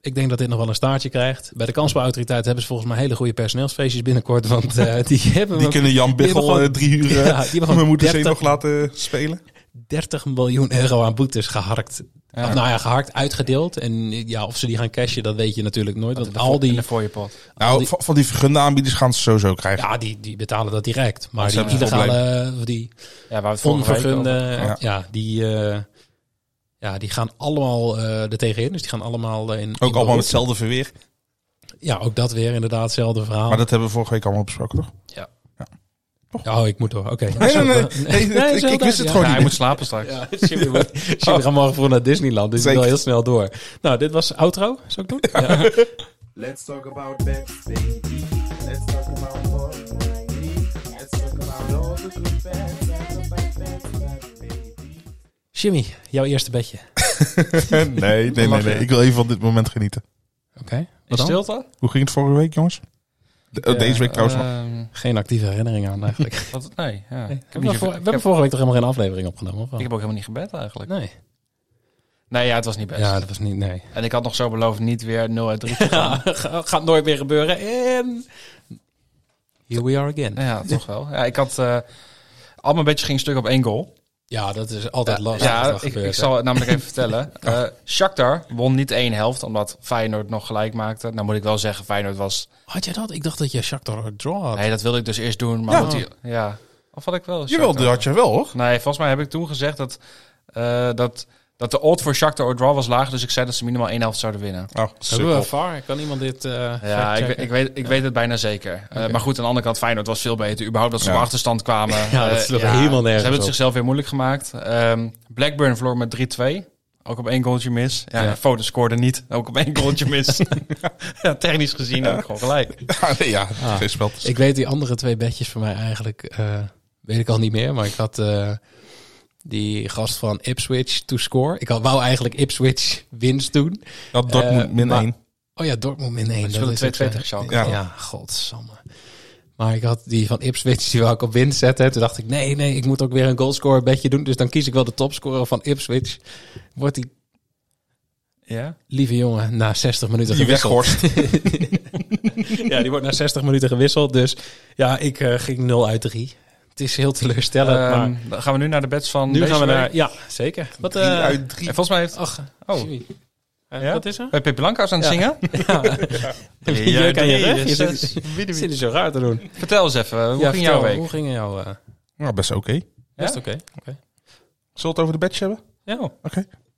Speaker 1: ik denk dat dit nog wel een staartje krijgt. Bij de kansbouwautoriteit hebben ze volgens mij hele goede personeelsfeestjes binnenkort. Want eh, die hebben
Speaker 7: Die
Speaker 1: we
Speaker 7: kunnen Jan
Speaker 1: hebben
Speaker 7: Biggel
Speaker 1: gewoon-
Speaker 7: eh, drie uur... eh,
Speaker 1: Ja, die hebben
Speaker 7: we
Speaker 1: gewoon
Speaker 7: moeten ze
Speaker 1: 30
Speaker 7: nog laten spelen.
Speaker 1: 30 miljoen euro aan boetes geharkt. Of nou ja, geharkt, uitgedeeld. En ja, of ze die gaan cashen, dat weet je natuurlijk nooit. Want al
Speaker 6: In
Speaker 1: die,
Speaker 6: de fooie pot.
Speaker 1: al
Speaker 7: Nou,
Speaker 1: die-
Speaker 7: van- van die vergunde aanbieders gaan ze sowieso krijgen.
Speaker 1: ja, die, die betalen dat direct. Maar
Speaker 7: ze
Speaker 1: die
Speaker 7: hebben het
Speaker 1: illegale, of die
Speaker 6: Ja, waar we het vorige week
Speaker 1: onvergunde,
Speaker 6: over-
Speaker 1: ja. die, eh, ja, die gaan allemaal eh er tegenin. Dus die gaan allemaal eh, in in
Speaker 7: Ook allemaal
Speaker 1: beroep.
Speaker 7: met hetzelfde verweer.
Speaker 1: Ja, ook dat weer inderdaad, hetzelfde verhaal.
Speaker 7: Maar dat hebben we vorige week allemaal besproken, toch?
Speaker 1: Oh, ik moet door, oké.
Speaker 7: Nee, nee, nee.
Speaker 1: Nee,
Speaker 7: Nee, ik-
Speaker 1: zo
Speaker 7: ik wist het
Speaker 1: ja.
Speaker 7: gewoon
Speaker 6: Ja, hij
Speaker 7: niet.
Speaker 6: moet slapen straks.
Speaker 1: Ja, Jimmy, wordt- Jimmy gaat morgen vroeg naar Disneyland, dus ik wil
Speaker 7: Oh. Zeker.
Speaker 1: heel snel door. Nou, dit was outro, zou ik doen? Ja.
Speaker 9: Let's talk about bets, baby. Let's talk about money. Let's talk about all the good bets. Talk about bets, baby.
Speaker 1: Jimmy, jouw eerste bedje.
Speaker 7: nee, nee, nee, nee, Ik wil even van dit moment genieten.
Speaker 1: Oké,
Speaker 6: In
Speaker 1: wat dan?
Speaker 6: stilte?
Speaker 7: Hoe ging het vorige week, jongens? De- oh, deze week
Speaker 1: Eh,
Speaker 7: trouwens nog.
Speaker 6: nog.
Speaker 1: Geen actieve herinnering aan eigenlijk.
Speaker 6: ehm, Wat, nee,
Speaker 1: Nee.
Speaker 6: ja. Ik, heb
Speaker 1: we
Speaker 6: niet
Speaker 1: hebben,
Speaker 6: ge-
Speaker 1: vor-
Speaker 6: ik
Speaker 1: we
Speaker 6: heb-
Speaker 1: hebben vorige week toch helemaal geen aflevering opgenomen? Of wel?
Speaker 6: ik heb ook helemaal niet gebed eigenlijk.
Speaker 1: Nee.
Speaker 6: Nee, ja, het was niet best.
Speaker 1: Ja, dat was niet... Nee.
Speaker 6: En ik had nog zo beloofd niet weer 0 uit 3 te gaan.
Speaker 1: Ga- gaat nooit meer gebeuren. En... Here we are again.
Speaker 6: ja, toch wel. Ja, ik had... eh al mijn bedjes ging stuk op één goal.
Speaker 1: Ja, dat is altijd lastig. wat
Speaker 6: Ja,
Speaker 1: er
Speaker 6: ik,
Speaker 1: gebeurt,
Speaker 6: ik
Speaker 1: hè.
Speaker 6: zal het namelijk even vertellen. Eh Shakhtar won niet één helft, omdat Feyenoord nog gelijk maakte. Nou moet ik wel zeggen, Feyenoord was...
Speaker 1: Had jij dat? Ik dacht dat je Shakhtar draw had.
Speaker 6: Nee, dat wilde ik dus eerst doen,
Speaker 7: Ja.
Speaker 6: maar... Ja. Die, ja. Of had ik
Speaker 1: eh,
Speaker 6: wel
Speaker 7: Jawel,
Speaker 6: Shakhtar?
Speaker 7: dat had je wel, hoor.
Speaker 6: Nee, volgens mij heb ik toen gezegd dat, eh, dat, dat de odd voor Shakhtar or draw was laag. Dus ik zei dat ze minimaal één helft zouden winnen.
Speaker 7: Oh,
Speaker 1: Hebben we
Speaker 7: sukkel.
Speaker 1: VAR? Kan iemand dit eh
Speaker 6: Ja, ik,
Speaker 1: factchecken?
Speaker 6: we- ik, weet, ik weet het bijna zeker. Eh, maar goed, aan de andere kant, Feyenoord was veel beter. Überhaupt dat ze op
Speaker 7: Ja.
Speaker 6: achterstand kwamen.
Speaker 1: Ja, dat
Speaker 6: Eh,
Speaker 1: sloeg helemaal nergens
Speaker 6: Ze hebben
Speaker 1: op.
Speaker 6: het zichzelf weer moeilijk gemaakt. Ehm, Blackburn verloor met 3-2. Ook op één goaltje mis. Ja,
Speaker 1: Ja.
Speaker 6: Foden scoorde niet. Ook op één goaltje mis. ja, technisch gezien heb ik gewoon gelijk.
Speaker 7: Ja, nee, ja. Geen spel.
Speaker 1: Ah. Ik weet die andere twee bedjes van mij eigenlijk, eh, weet ik al niet meer. Maar ik had eh, die gast van Ipswich to score. Ik had, wou eigenlijk Ipswich winst doen.
Speaker 7: Dat Dortmund
Speaker 1: Eh,
Speaker 7: min
Speaker 1: maar-
Speaker 7: 1.
Speaker 1: Oh ja, Dortmund min 1.
Speaker 6: speelden 2-2 tegen Schalke.
Speaker 1: eh, Ja,
Speaker 7: Ja.
Speaker 1: ja godsamme. Maar ik had die van Ipswich, die wou ik op winst zetten. Toen dacht ik, nee, nee, ik moet ook weer een goalscorer bedje doen. Dus dan kies ik wel de topscorer van Ipswich. Wordt die
Speaker 6: Ja?
Speaker 1: lieve jongen na 60 minuten
Speaker 7: Die
Speaker 1: gewisseld.
Speaker 7: weghorst.
Speaker 1: Ja, die wordt na 60 minuten gewisseld. Dus ja, ik eh, ging 0 uit 3. Het is heel teleurstellend, maar...
Speaker 6: Ehm, dan gaan we nu naar de bets van
Speaker 1: Nu
Speaker 6: deze
Speaker 1: gaan we
Speaker 6: week.
Speaker 1: naar... Ja, zeker. Wat,
Speaker 7: Drie
Speaker 1: eh,
Speaker 7: uit drie.
Speaker 6: En volgens mij heeft...
Speaker 1: Ach,
Speaker 6: Oh.
Speaker 1: oh.
Speaker 6: Ja?
Speaker 1: Wat is er?
Speaker 6: Bij Pippi Lankhuis aan
Speaker 1: Ja.
Speaker 6: het zingen?
Speaker 1: Heb je
Speaker 6: Ja,
Speaker 1: jeuk aan je
Speaker 6: drie,
Speaker 1: rug? Je
Speaker 6: dus
Speaker 1: zit-
Speaker 6: zes.
Speaker 1: je zit er zo raar te doen.
Speaker 6: Vertel eens even, eh, hoe ging jouw week?
Speaker 1: Hoe ging jouw... eh
Speaker 7: Nou, best oké.
Speaker 1: Best oké. oké.
Speaker 7: Zullen we het over de badge hebben?
Speaker 6: Ja.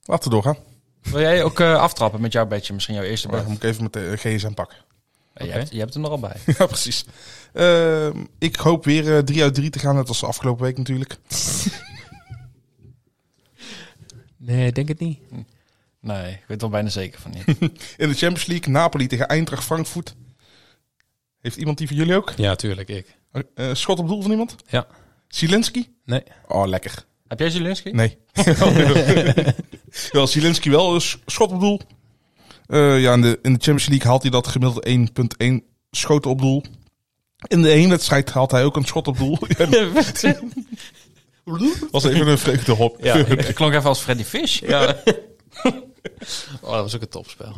Speaker 7: Laten we doorgaan.
Speaker 6: Wil jij ook eh, aftrappen met jouw bedje? Misschien jouw eerste
Speaker 7: Dan
Speaker 6: bet?
Speaker 7: moet ik even met de eh, GSM pakken.
Speaker 6: Je, hebt, je hebt hem er al bij.
Speaker 7: ja, precies. Ehm, ik hoop weer 3 uit 3 te gaan, net als de afgelopen week natuurlijk.
Speaker 1: Nee, ik denk het niet.
Speaker 6: Nee, ik weet er bijna zeker van niet.
Speaker 7: In de Champions League, Napoli tegen Eintracht Frankfurt. Heeft iemand die van jullie ook?
Speaker 1: Ja, tuurlijk. Ik.
Speaker 7: Eh, schot op doel van iemand?
Speaker 1: Ja.
Speaker 7: Zielinski?
Speaker 1: Nee.
Speaker 7: Oh, lekker.
Speaker 6: Heb jij Zielinski?
Speaker 7: Nee. wel, Zielinski wel, dus schot op doel. Eh, ja, in de, in de Champions League haalt hij dat gemiddeld 1.1 schoten op doel. In de eenwedstrijd haalt hij ook een schot op doel. Ja, was even een vreugde hop.
Speaker 6: Ja, ik klonk even als Freddy Fish. Ja.
Speaker 1: Oh, dat was ook een topspel.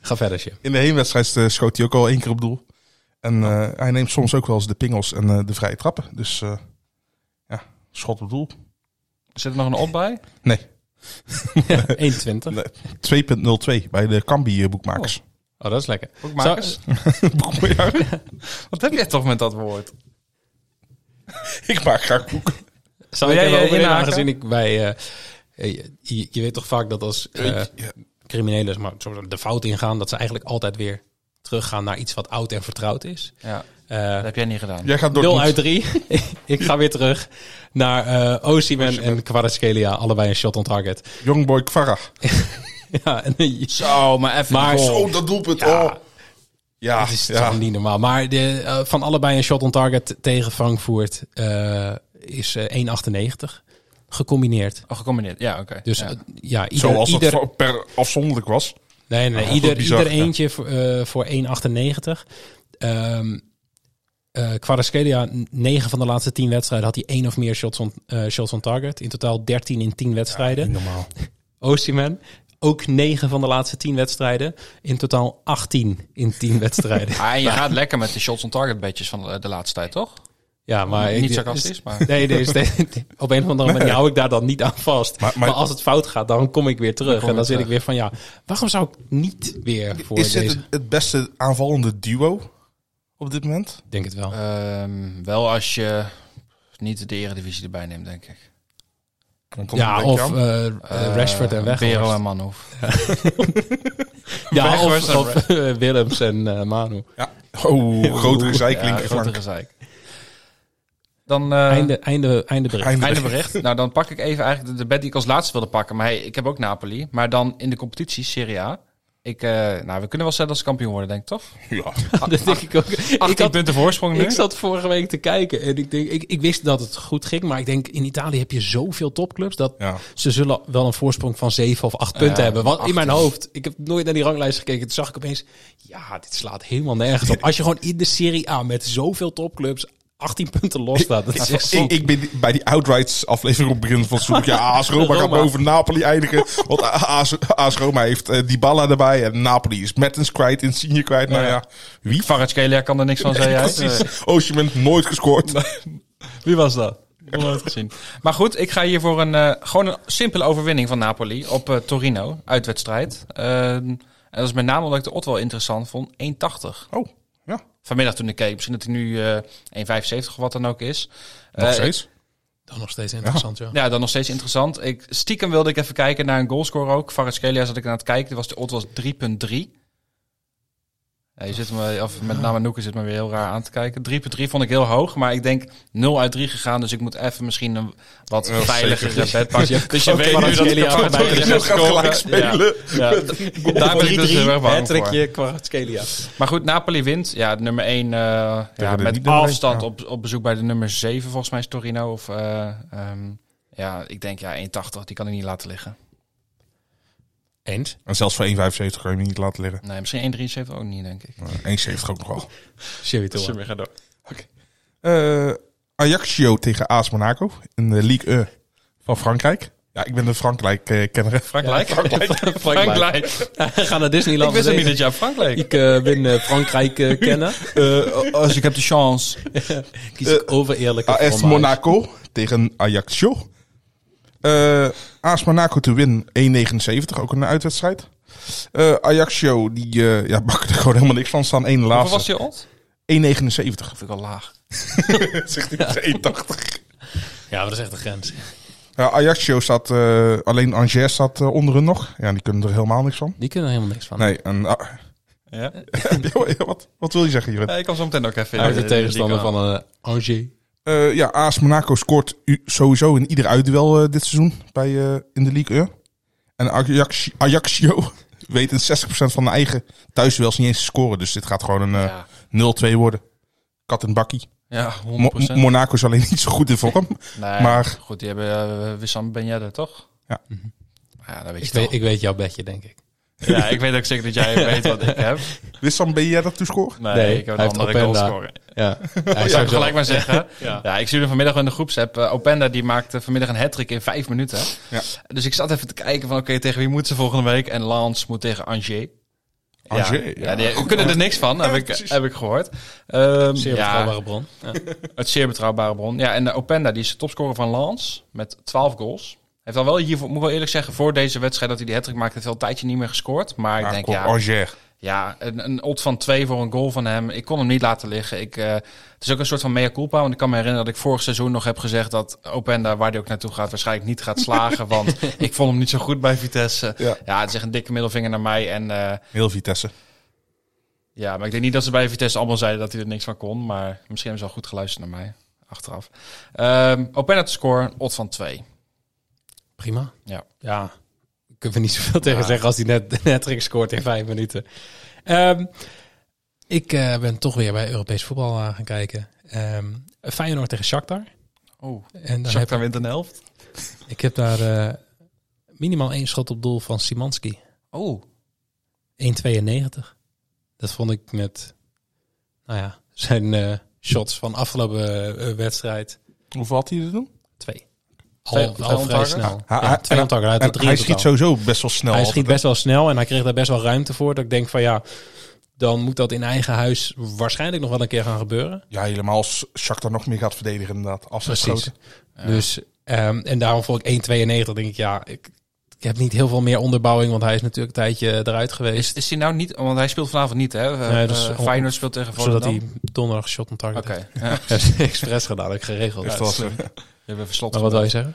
Speaker 1: Ga verder, Jim.
Speaker 7: In de heenwedstrijd eh, schoot hij ook al één keer op doel. En eh, hij neemt soms ook wel eens de pingels en eh, de vrije trappen. Dus eh, ja, schot op doel.
Speaker 6: Zit er nog een op bij?
Speaker 7: Nee,
Speaker 1: 1,20.
Speaker 7: 2.02 bij de Cambi-boekmakers.
Speaker 1: Oh, dat is lekker.
Speaker 6: Boekmakers?
Speaker 7: Ja,
Speaker 6: Wat heb jij toch met dat woord?
Speaker 7: Oh. ik maak graag boek.
Speaker 1: Zou
Speaker 6: Wil
Speaker 1: jij even
Speaker 6: jij je
Speaker 1: overheen,
Speaker 6: inhaken?
Speaker 1: aangezien ik bij... eh, eh, je, je weet toch vaak dat als eh,
Speaker 7: Ja.
Speaker 1: criminelen maar soort van de fout ingaan... dat ze eigenlijk altijd weer teruggaan naar iets wat oud en vertrouwd is.
Speaker 6: Ja,
Speaker 1: Eh
Speaker 6: dat heb jij niet gedaan.
Speaker 7: Jij gaat door.
Speaker 1: 0 uit 3. ik ga weer terug naar eh Osimhen en Kvaratskhelia. Allebei een shot on target.
Speaker 7: Youngboy Kvara.
Speaker 1: ja, en, eh,
Speaker 6: Zo, maar even.
Speaker 1: Maar-
Speaker 6: de goal.
Speaker 7: Zo, dat doelpunt.
Speaker 1: Ja.
Speaker 7: oh. ja,
Speaker 1: Het is
Speaker 7: ja.
Speaker 1: toch niet normaal. Maar de, eh, van allebei een shot on target tegen Frankfurt eh, is eh, 1,98 gecombineerd.
Speaker 6: Oh, gecombineerd. Ja, oké.
Speaker 1: Dus
Speaker 6: ja.
Speaker 1: ja, ja ieder,
Speaker 7: Zoals
Speaker 1: ieder,
Speaker 7: het voor- per afzonderlijk was.
Speaker 1: nee, nee,
Speaker 7: Ah,
Speaker 1: ieder,
Speaker 7: dat is bizar,
Speaker 1: ieder
Speaker 7: ja.
Speaker 1: eentje voor, eh, voor 1,98. Ehm eh Kvaratskhelia, 9 van de laatste 10 wedstrijden had hij één of meer shots on, eh, shots on target. In totaal 13 in 10 wedstrijden.
Speaker 7: normaal.
Speaker 1: Osimhen. Ook 9 van de laatste 10 wedstrijden. In totaal 18 in 10 wedstrijden.
Speaker 6: Ah, en je gaat lekker met de shots on target bedjes van eh, de laatste tijd, toch?
Speaker 1: Ja, maar
Speaker 6: Niet sarcastisch, maar-
Speaker 1: Nee, nee, is- op een of andere manier hou ik daar dan niet aan vast. Maar,
Speaker 7: Maar- maar-
Speaker 1: als het fout gaat, dan kom ik weer terug.
Speaker 6: kom
Speaker 1: en dan
Speaker 6: je
Speaker 1: zit ik
Speaker 6: terug.
Speaker 1: weer van, ja, waarom zou ik niet weer voor
Speaker 7: Is dit
Speaker 1: deze...
Speaker 7: het, het beste aanvallende duo op dit moment?
Speaker 1: Ik Denk het wel.
Speaker 6: Ehm, wel als je niet de eredivisie erbij neemt, denk ik.
Speaker 7: Want dan
Speaker 1: ja,
Speaker 7: denk je
Speaker 1: of
Speaker 7: aan-
Speaker 1: eh, eh, Rashford en
Speaker 6: Eh,
Speaker 1: Weghorst.
Speaker 6: Bero en Manhoef.
Speaker 1: ja,
Speaker 6: Weghorst
Speaker 1: of,
Speaker 6: en
Speaker 1: of eh, Willems en eh, Manu.
Speaker 7: ja. Oh, grotere zijkling.
Speaker 6: Ja,
Speaker 7: Ja,
Speaker 6: grotere gezeik. Dan... eh,
Speaker 1: Einde, einde, einde bericht.
Speaker 7: Einde
Speaker 6: Einde bericht. Nou, dan pak ik even eigenlijk de, de bet die ik als laatste wilde pakken. Maar hey, ik heb ook Napoli. Maar dan in de competitie, Serie A. Ik, eh, nou, we kunnen wel zeggen dat ze kampioen worden, denk ik, toch?
Speaker 7: Ja.
Speaker 1: dat denk ik ook.
Speaker 6: 18
Speaker 1: Ik, had-
Speaker 6: punten voorsprong nu.
Speaker 1: ik zat vorige week te kijken en ik, denk, ik, ik wist dat het goed ging. Maar ik denk, in Italië heb je zoveel topclubs dat
Speaker 7: Ja.
Speaker 1: ze zullen wel een voorsprong van 7 of 8 punten hebben. Want in mijn hoofd, ik heb nooit naar die ranglijst gekeken. Toen zag ik opeens, ja, dit slaat helemaal nergens op. Als je gewoon in de Serie A met zoveel topclubs 18 punten los staat, dat is echt zo.
Speaker 7: Ik, ik ben die- bij die Outrights aflevering op het begin van het seizoen. Ja, AS Roma gaat
Speaker 1: Roma.
Speaker 7: boven Napoli eindigen. Want AS, AS Roma heeft eh, Dybala erbij. En Napoli is Mertens kwijt, Insigne kwijt. Nou ja, wie van...
Speaker 6: Kvaratskhelia kan er niks van Eh, zeggen. hè?
Speaker 7: Precies. Osimhen nooit gescoord.
Speaker 6: Wie was dat? Nog nooit gezien. Maar goed, ik ga hier voor een, eh, gewoon een simpele overwinning van Napoli op eh, Torino. Uitwedstrijd. Ehm, en dat is met name omdat ik de odd wel interessant vond. 1,80.
Speaker 7: Oh, ja.
Speaker 6: Vanmiddag toen ik keek. Misschien dat hij nu eh 1,75 of wat dan ook is.
Speaker 7: Nog
Speaker 6: Eh,
Speaker 7: steeds.
Speaker 1: Dan nog steeds interessant, ja.
Speaker 6: Ja, dan nog steeds interessant. Ik, stiekem wilde ik even kijken naar een goalscore ook. Kvaratskhelia zat ik aan het kijken. Die Was, de odd was 3,3. Ja, je zit me, of met name Noeke zit me weer heel raar aan te kijken. 3,3 vond ik heel hoog, maar ik denk 0 uit 3 gegaan. Dus ik moet even misschien een wat
Speaker 7: Ja,
Speaker 6: veiliger
Speaker 7: zeker.
Speaker 6: bed pakken. Dus je weet nu dat
Speaker 1: Kvaratskhelia
Speaker 6: ik er
Speaker 1: gaat
Speaker 6: bij
Speaker 7: Torino gaat gelijk spelen.
Speaker 6: Daar ben ik dus heel erg bang voor.
Speaker 1: Kvaratskhelia.
Speaker 6: Maar goed, Napoli wint. Ja, de nummer 1 ja,
Speaker 7: Tegen de
Speaker 6: met
Speaker 7: niet nummer één,
Speaker 6: afstand
Speaker 7: ja.
Speaker 6: op, op bezoek bij de nummer 7 volgens mij is Torino. Of, eh, ehm, ja, ik denk ja, 1,80. Die kan ik niet laten liggen.
Speaker 1: Eens?
Speaker 7: En zelfs voor 1,75 kan je hem niet laten liggen.
Speaker 6: Nee, misschien 1,73 ook niet, denk ik.
Speaker 7: Eh, 1,70 ook nog wel.
Speaker 1: Sherry Tour.
Speaker 6: weer gaat door.
Speaker 7: Eh Ajaccio tegen AS Monaco in de Ligue 1 van Frankrijk. Ja, ik ben een Frankrijk-kenner.
Speaker 6: Frankrijk. Frankrijk. Frankrijk.
Speaker 1: Ga naar
Speaker 6: Ik
Speaker 1: Disneyland.
Speaker 6: wist hem niet
Speaker 1: meteen.
Speaker 6: dat jij Frankrijk.
Speaker 1: Ik eh, ben eh, Frankrijk eh, kennen. Oh, dus
Speaker 6: als ik heb de chance.
Speaker 1: Kies ik over eerlijke
Speaker 7: AS
Speaker 1: formaat.
Speaker 7: Monaco tegen Ajaccio. Eh AS Monaco te win 1,79, ook een uitwedstrijd. Eh Ajaccio, die eh, ja, bakken er gewoon helemaal niks van, staan één
Speaker 6: Wat was
Speaker 7: laatste.
Speaker 6: je odd?
Speaker 7: 1,79.
Speaker 6: Vind ik al laag.
Speaker 7: Zegt hij 1,80.
Speaker 1: Ja, maar dat is echt de grens.
Speaker 7: Ja, Ajaccio staat, eh, alleen Angers staat eh, onder hun nog. Ja, die kunnen er helemaal niks van.
Speaker 1: Die kunnen er helemaal niks van.
Speaker 7: Nee, en, ah,
Speaker 6: Ja.
Speaker 7: wat, wat wil je zeggen, Jeroen?
Speaker 6: ik kan zo meteen ook even...
Speaker 1: Hij is de
Speaker 6: eh,
Speaker 1: tegenstander
Speaker 6: die
Speaker 1: van
Speaker 6: kan-
Speaker 1: een Angers.
Speaker 7: Eh, ja, AS Monaco scoort u- sowieso in ieder uitduel eh, dit seizoen bij, eh, in de Ligue 1. En Ajax, Ajaxio weet in 60% van de eigen thuisduels niet eens te scoren. Dus dit gaat gewoon een eh,
Speaker 6: Ja.
Speaker 7: 0-2 worden. Kat en bakkie.
Speaker 6: Ja, 100%.
Speaker 7: Mo- Monaco is alleen niet zo goed in vorm.
Speaker 6: nee,
Speaker 7: maar-
Speaker 6: maar... Goed, die hebben eh, Wissam Ben Yedder, toch? Mhm.
Speaker 7: Ja.
Speaker 6: Ja, dat weet
Speaker 1: Ik
Speaker 6: je
Speaker 1: weet,
Speaker 6: toch.
Speaker 1: ik weet jouw bedje, denk ik.
Speaker 6: Ja, ik weet ook zeker dat jij weet wat ik heb.
Speaker 7: Wissam, ben jij dat toe scoren?
Speaker 6: Nee,
Speaker 1: Nee,
Speaker 6: ik heb
Speaker 1: hij
Speaker 6: een
Speaker 1: heeft
Speaker 6: andere
Speaker 1: Openda.
Speaker 6: goal scoren.
Speaker 1: Ja. Hij
Speaker 6: Ik
Speaker 1: is ook
Speaker 6: zou het
Speaker 1: wel-
Speaker 6: gelijk maar zeggen. Ja. ik stuurde vanmiddag in de groepsapp. eh, Openda die maakte vanmiddag een hat-trick in vijf minuten.
Speaker 7: Ja.
Speaker 6: Dus ik zat even te kijken van oké, tegen wie moet ze volgende week? En Lance moet tegen Angers.
Speaker 7: Angers,
Speaker 6: ja.
Speaker 7: ja.
Speaker 6: die- we kunnen er niks van, heb, ik, heb ik gehoord. Ehm,
Speaker 1: Zeer
Speaker 6: ja,
Speaker 1: betrouwbare bron.
Speaker 6: het zeer betrouwbare bron. Ja, en eh, Openda die is de topscorer van Lance met 12 goals. Heeft al wel hiervoor, moet ik wel eerlijk zeggen, voor deze wedstrijd dat hij die hat-trick maakte, heeft hij al een tijdje niet meer gescoord. Maar ik
Speaker 7: Ja,
Speaker 6: denk,
Speaker 7: Ah, kom,
Speaker 1: Oh,
Speaker 6: ja,
Speaker 7: Angers.
Speaker 6: ja, een, een odd van twee voor een goal van hem. Ik kon hem niet laten liggen. Ik, eh, het is ook een soort van mea culpa. Want ik kan me herinneren dat ik vorig seizoen nog heb gezegd... dat Openda, waar hij ook naartoe gaat, waarschijnlijk niet gaat slagen. want ik vond hem niet zo goed bij Vitesse. Ja,
Speaker 7: Ja.
Speaker 6: het is echt een dikke middelvinger naar mij. En, eh,
Speaker 7: Heel Vitesse.
Speaker 6: ja, maar ik denk niet dat ze bij Vitesse allemaal zeiden dat hij er niks van kon. Maar misschien hebben ze wel goed geluisterd naar mij, achteraf. Ehm Openda te scoren, odd van twee.
Speaker 1: Prima.
Speaker 6: Ja.
Speaker 1: Ja. Ik kan er niet zoveel tegen zeggen als hij net net trick scoort in vijf minuten. Ehm, ik eh, ben toch weer bij Europees voetbal aan gaan kijken. Ehm, Feyenoord tegen Shakhtar.
Speaker 6: Oh,
Speaker 1: En dan heb
Speaker 6: Shakhtar wint een helft.
Speaker 1: Ik heb daar eh, minimaal één schot op doel van Simanski.
Speaker 6: Oh,
Speaker 1: 1,92. Dat vond ik met nou ja, zijn eh, shots van afgelopen eh, wedstrijd.
Speaker 7: Hoeveel had hij er doen?
Speaker 1: Twee.
Speaker 6: Twee-
Speaker 1: Al,
Speaker 6: twee
Speaker 1: al vrij
Speaker 6: onttakken?
Speaker 1: snel.
Speaker 7: Hij-
Speaker 1: Ja,
Speaker 7: hij-
Speaker 1: twee onttakken. Hij, had er
Speaker 7: En
Speaker 1: drie
Speaker 7: hij
Speaker 1: in
Speaker 7: schiet
Speaker 1: totaal.
Speaker 7: sowieso best wel snel.
Speaker 1: Hij
Speaker 7: altijd,
Speaker 1: schiet
Speaker 7: hè?
Speaker 1: best wel snel en hij kreeg daar best wel ruimte voor. Dat ik denk van ja, dan moet dat in eigen huis waarschijnlijk nog wel een keer gaan gebeuren.
Speaker 7: Ja, helemaal als Shakhtar nog meer gaat verdedigen inderdaad. Afgesloten.
Speaker 1: Dus, ehm, en daarom vond ik 1,92. denk ik ja, ik, ik heb niet heel veel meer onderbouwing, want hij is natuurlijk een tijdje eh, eruit geweest.
Speaker 6: is, is hij nou niet... Want hij speelt vanavond niet, hè? Eh,
Speaker 1: Nee, dat is
Speaker 6: eh,
Speaker 1: on-
Speaker 6: Feyenoord speelt tegen
Speaker 1: Zodat
Speaker 6: Volendam.
Speaker 1: hij donderdag shot on target
Speaker 6: Oké.
Speaker 1: heeft.
Speaker 6: ja.
Speaker 1: heeft. expres gedaan, heb ik geregeld.
Speaker 7: Dus dat was, eh,
Speaker 6: Je hebt even slot
Speaker 1: maar wat wil je zeggen?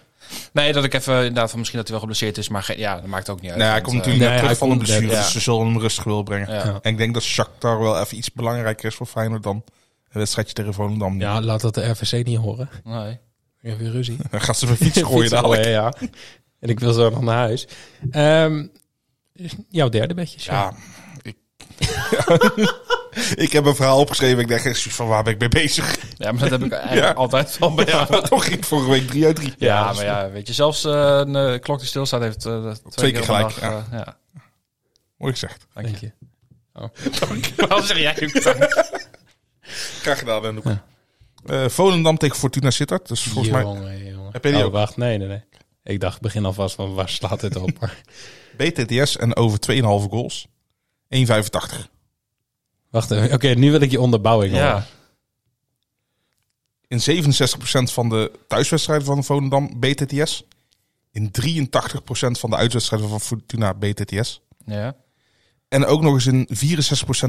Speaker 6: Nee, dat ik even inderdaad van misschien dat hij wel geblesseerd is, maar geen- ja, dat maakt ook niet uit.
Speaker 7: Nou, hij
Speaker 6: Want,
Speaker 7: komt
Speaker 6: eh,
Speaker 7: natuurlijk net
Speaker 1: nee,
Speaker 7: terug
Speaker 1: hij
Speaker 7: van een
Speaker 1: komt net,
Speaker 7: blessure,
Speaker 6: ja.
Speaker 7: dus ze zullen hem rustig willen brengen.
Speaker 6: Ja.
Speaker 7: En ik denk dat Shakhtar wel even iets belangrijker is voor Feyenoord dan een wedstrijdje tegen Volendam.
Speaker 1: Ja, laat dat de RVC niet horen.
Speaker 6: Nee.
Speaker 1: Ik heb weer ruzie.
Speaker 7: Dan gaat ze weer fiets gooien
Speaker 1: Fietsen
Speaker 7: dadelijk.
Speaker 1: gooien, ja. En ik wil zo nog naar huis. Ehm, Jouw derde bedje, Sjaak.
Speaker 7: Ja, ik... ik heb een verhaal opgeschreven. Ik dacht echt zoiets van, waar ben ik mee bezig?
Speaker 6: Ja, maar dat heb ik eigenlijk
Speaker 7: Ja.
Speaker 6: altijd al bij jou.
Speaker 7: Maar toch ging ik vorige week drie uit drie.
Speaker 6: Ja, maar ja, weet je, zelfs eh, een eh, klok die stilstaat heeft eh, twee,
Speaker 7: keer
Speaker 6: op een
Speaker 7: gelijk,
Speaker 6: dag, eh, ja.
Speaker 7: Mooi gezegd.
Speaker 6: Dank
Speaker 1: Dank
Speaker 6: je.
Speaker 1: je.
Speaker 6: Waarom zeg jij ook dank?
Speaker 7: Graag gedaan, Wendoek. Eh, Volendam tegen Fortuna Sittard. Dus volgens mij
Speaker 1: Jongen, jongen.
Speaker 7: Heb je die
Speaker 1: oh,
Speaker 7: ook?
Speaker 1: wacht. Nee, nee, nee. Ik dacht, begin alvast van waar slaat dit op? Maar
Speaker 7: BTTS en over 2,5 goals. 1,85.
Speaker 1: wacht even. Oké, nu wil ik je onderbouwing horen.
Speaker 6: Ja.
Speaker 7: In 67% van de thuiswedstrijden van Volendam BTTS. In 83% van de uitwedstrijden van Fortuna BTTS.
Speaker 6: ja.
Speaker 7: En ook nog eens in 64%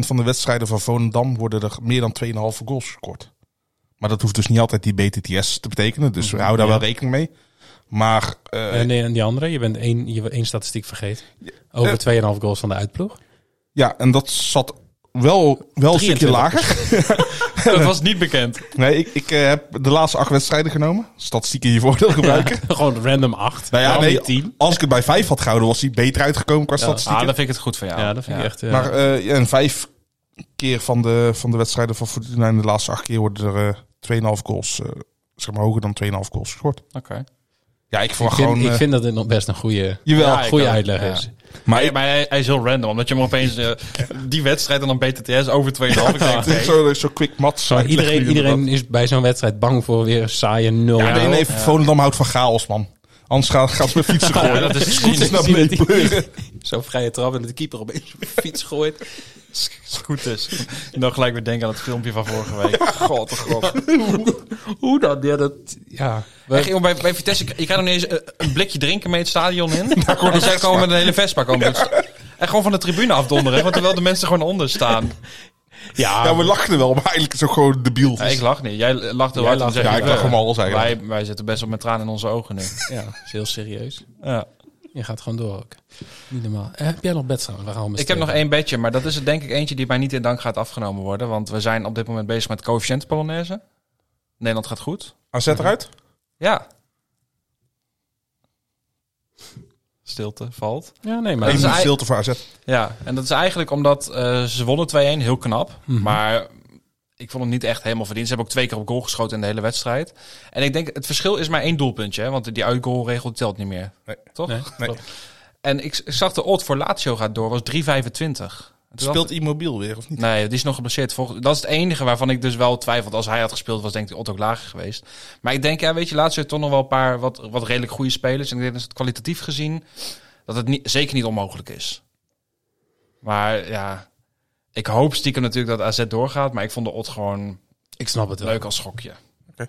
Speaker 7: van de wedstrijden van Volendam worden er meer dan 2,5 goals gescoord. Maar dat hoeft dus niet altijd die BTTS te betekenen. Dus we hou daar wel rekening mee. Maar eh,
Speaker 1: En, die- en die andere? Je bent één, je bent één statistiek vergeten.
Speaker 7: Eh.
Speaker 1: Over 2,5 goals van de uitploeg.
Speaker 7: ja, en dat zat wel, wel een stukje
Speaker 1: 23%.
Speaker 7: lager.
Speaker 6: Dat was niet bekend.
Speaker 7: Nee, ik, ik eh, heb de laatste acht wedstrijden genomen. Statistieken in je voordeel gebruiken.
Speaker 1: Gewoon random 8.
Speaker 7: Nou ja,
Speaker 1: Waarom
Speaker 7: nee,
Speaker 1: niet 10?
Speaker 7: als ik het bij vijf had gehouden, was hij beter uitgekomen qua
Speaker 6: Ah,
Speaker 7: statistieken.
Speaker 6: dan vind ik het goed van jou.
Speaker 1: Ja, dat vind ik echt... eh,
Speaker 7: Maar eh, ja, en vijf keer van de, van de wedstrijden van Fortuna in de laatste acht keer worden er eh 2,5 goals, eh, zeg maar hoger dan 2,5 goals gescoord.
Speaker 6: Oké.
Speaker 7: Ja, ik
Speaker 1: ik,
Speaker 7: verwacht
Speaker 1: vind,
Speaker 7: gewoon...
Speaker 1: ik
Speaker 7: eh,
Speaker 1: vind dat dit nog best een goede,
Speaker 7: jawel,
Speaker 6: Ja, ik
Speaker 1: goede
Speaker 6: ook.
Speaker 1: uitleg
Speaker 6: Ja.
Speaker 1: is.
Speaker 7: maar
Speaker 6: Hey,
Speaker 7: ik,
Speaker 6: maar hij, hij is heel random, omdat je hem opeens eh, die wedstrijd en dan BTTS over 2,5 Ik denk,
Speaker 7: het is
Speaker 6: nee.
Speaker 7: zo, zo quick mat.
Speaker 1: Maar iedereen, iedereen is bij zo'n wedstrijd bang voor weer een saaie 0.
Speaker 7: Ja, nee, nee, Volendam houdt van chaos, man. Anders gaan, gaan ze met fietsen gooien.
Speaker 6: Ja, dat is
Speaker 7: Scooters
Speaker 6: cynisch.
Speaker 7: naar beneden pleuren.
Speaker 1: Zo'n vrije trap en de keeper opeens op de fiets gooit.
Speaker 6: Als het goed is. Dan gelijk weer denken aan het filmpje van vorige week. god, oh god.
Speaker 1: Hoe dan? Ja, dat... Ja.
Speaker 6: Echt, jongen, bij, bij Vitesse, je krijgt nog niet eens eh, een blikje drinken mee het stadion in. en zij komen met een hele Vespa. Komen het sta- En gewoon van de tribune afdonderen, want terwijl de mensen gewoon onder staan.
Speaker 1: Ja,
Speaker 7: Ja, we lachten wel, maar eigenlijk is het ook gewoon debiel.
Speaker 6: Ja, ik lach niet. Jij lacht heel
Speaker 1: Jij
Speaker 6: hard.
Speaker 1: lacht,
Speaker 6: en zegt,
Speaker 7: ja, ik
Speaker 6: eh,
Speaker 7: lach om alles eigenlijk.
Speaker 6: Wij, wij zitten best wel met tranen in onze ogen nu.
Speaker 1: ja, dat is heel serieus.
Speaker 6: Ja.
Speaker 1: Je gaat gewoon door ook. Niet normaal. Eh, heb jij nog bedstrijd? We gaan al met
Speaker 6: Ik heb nog
Speaker 1: twee.
Speaker 6: één bedje, maar dat is er denk ik eentje die mij niet in dank gaat afgenomen worden. Want we zijn op dit moment bezig met coëfficiënt Polonaise. Nederland gaat goed.
Speaker 7: AZ eruit?
Speaker 6: Ja. Stilte valt.
Speaker 1: Ja, nee, maar...
Speaker 6: Dat
Speaker 7: Eén
Speaker 6: is
Speaker 7: minuut
Speaker 6: ei-
Speaker 7: stilte voor AZ.
Speaker 6: Ja, en dat is eigenlijk omdat eh, ze wonnen 2-1, heel knap. Maar ik vond hem niet echt helemaal verdiend. Ze hebben ook twee keer op goal geschoten in de hele wedstrijd. En ik denk, het verschil is maar één doelpuntje. Hè, want die uitgoalregel telt niet meer.
Speaker 7: Nee.
Speaker 6: Toch?
Speaker 1: Nee.
Speaker 6: En ik, ik zag de odd voor Lazio gaat door, was 3,25. En toen dacht
Speaker 7: Speelt Immobiel weer, of niet?
Speaker 6: Nee, die is nog geblesseerd. Volgens- Dat is het enige waarvan ik dus wel twijfel. Als hij had gespeeld, was denk ik Otto ook lager geweest. Maar ik denk, ja, weet je, laatst heeft toch nog wel een paar wat, wat redelijk goede spelers. En ik denk dat het kwalitatief gezien dat het niet, zeker niet onmogelijk is. Maar ja, ik hoop stiekem natuurlijk dat AZ doorgaat. Maar ik vond de Ot gewoon
Speaker 1: Ik snap het wel.
Speaker 6: leuk als schokje.
Speaker 7: Oké.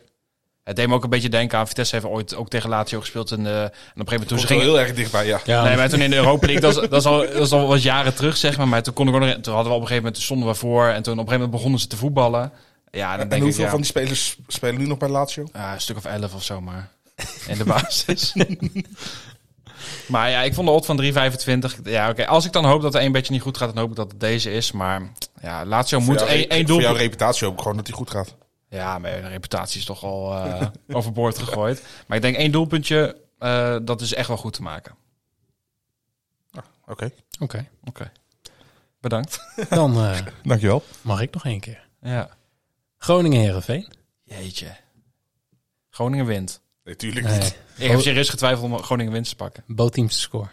Speaker 6: Het deed me ook een beetje denken aan Vitesse heeft ooit ook tegen Lazio gespeeld. En, eh, en op een gegeven moment toen
Speaker 7: Komt
Speaker 6: ze
Speaker 7: wel
Speaker 6: gingen,
Speaker 7: heel erg dichtbij, ja.
Speaker 1: Ja,
Speaker 6: Nee, maar toen in de Europa League, dat is, dat is al, dat is al wat jaren terug, zeg maar. Maar toen, kon ik ook nog, toen hadden we op een gegeven moment, stonden we voor. En toen op een gegeven moment begonnen ze te voetballen. Ja, dan
Speaker 7: En
Speaker 6: denk ik,
Speaker 7: hoeveel
Speaker 6: ja,
Speaker 7: van die spelers spelen nu nog bij Lazio?
Speaker 6: ah, een stuk of elf of zo maar. In de basis. maar ja, ik vond de odd van 3,25. Ja, oké. Als ik dan hoop dat er één beetje niet goed gaat, dan hoop ik dat het deze is. Maar ja, Lazio
Speaker 7: Voor
Speaker 6: moet
Speaker 7: jouw
Speaker 6: één
Speaker 7: re- Voor
Speaker 6: één
Speaker 7: jouw
Speaker 6: doelpunt...
Speaker 7: reputatie ook gewoon dat hij goed gaat.
Speaker 6: Ja, maar de reputatie is toch al eh, overboord gegooid. Maar ik denk één doelpuntje, eh, dat is echt wel goed te maken.
Speaker 7: Oké,
Speaker 1: Oké.
Speaker 6: Bedankt.
Speaker 1: Dan eh,
Speaker 7: dankjewel.
Speaker 1: mag ik nog één keer.
Speaker 6: Ja.
Speaker 1: Groningen-Herenveen.
Speaker 6: Jeetje. Groningen wint.
Speaker 7: Natuurlijk
Speaker 1: Nee.
Speaker 7: niet.
Speaker 6: Ik
Speaker 1: Oh.
Speaker 6: heb serieus getwijfeld om Groningen winst te pakken. 1-1.
Speaker 1: Bootteams te scoren.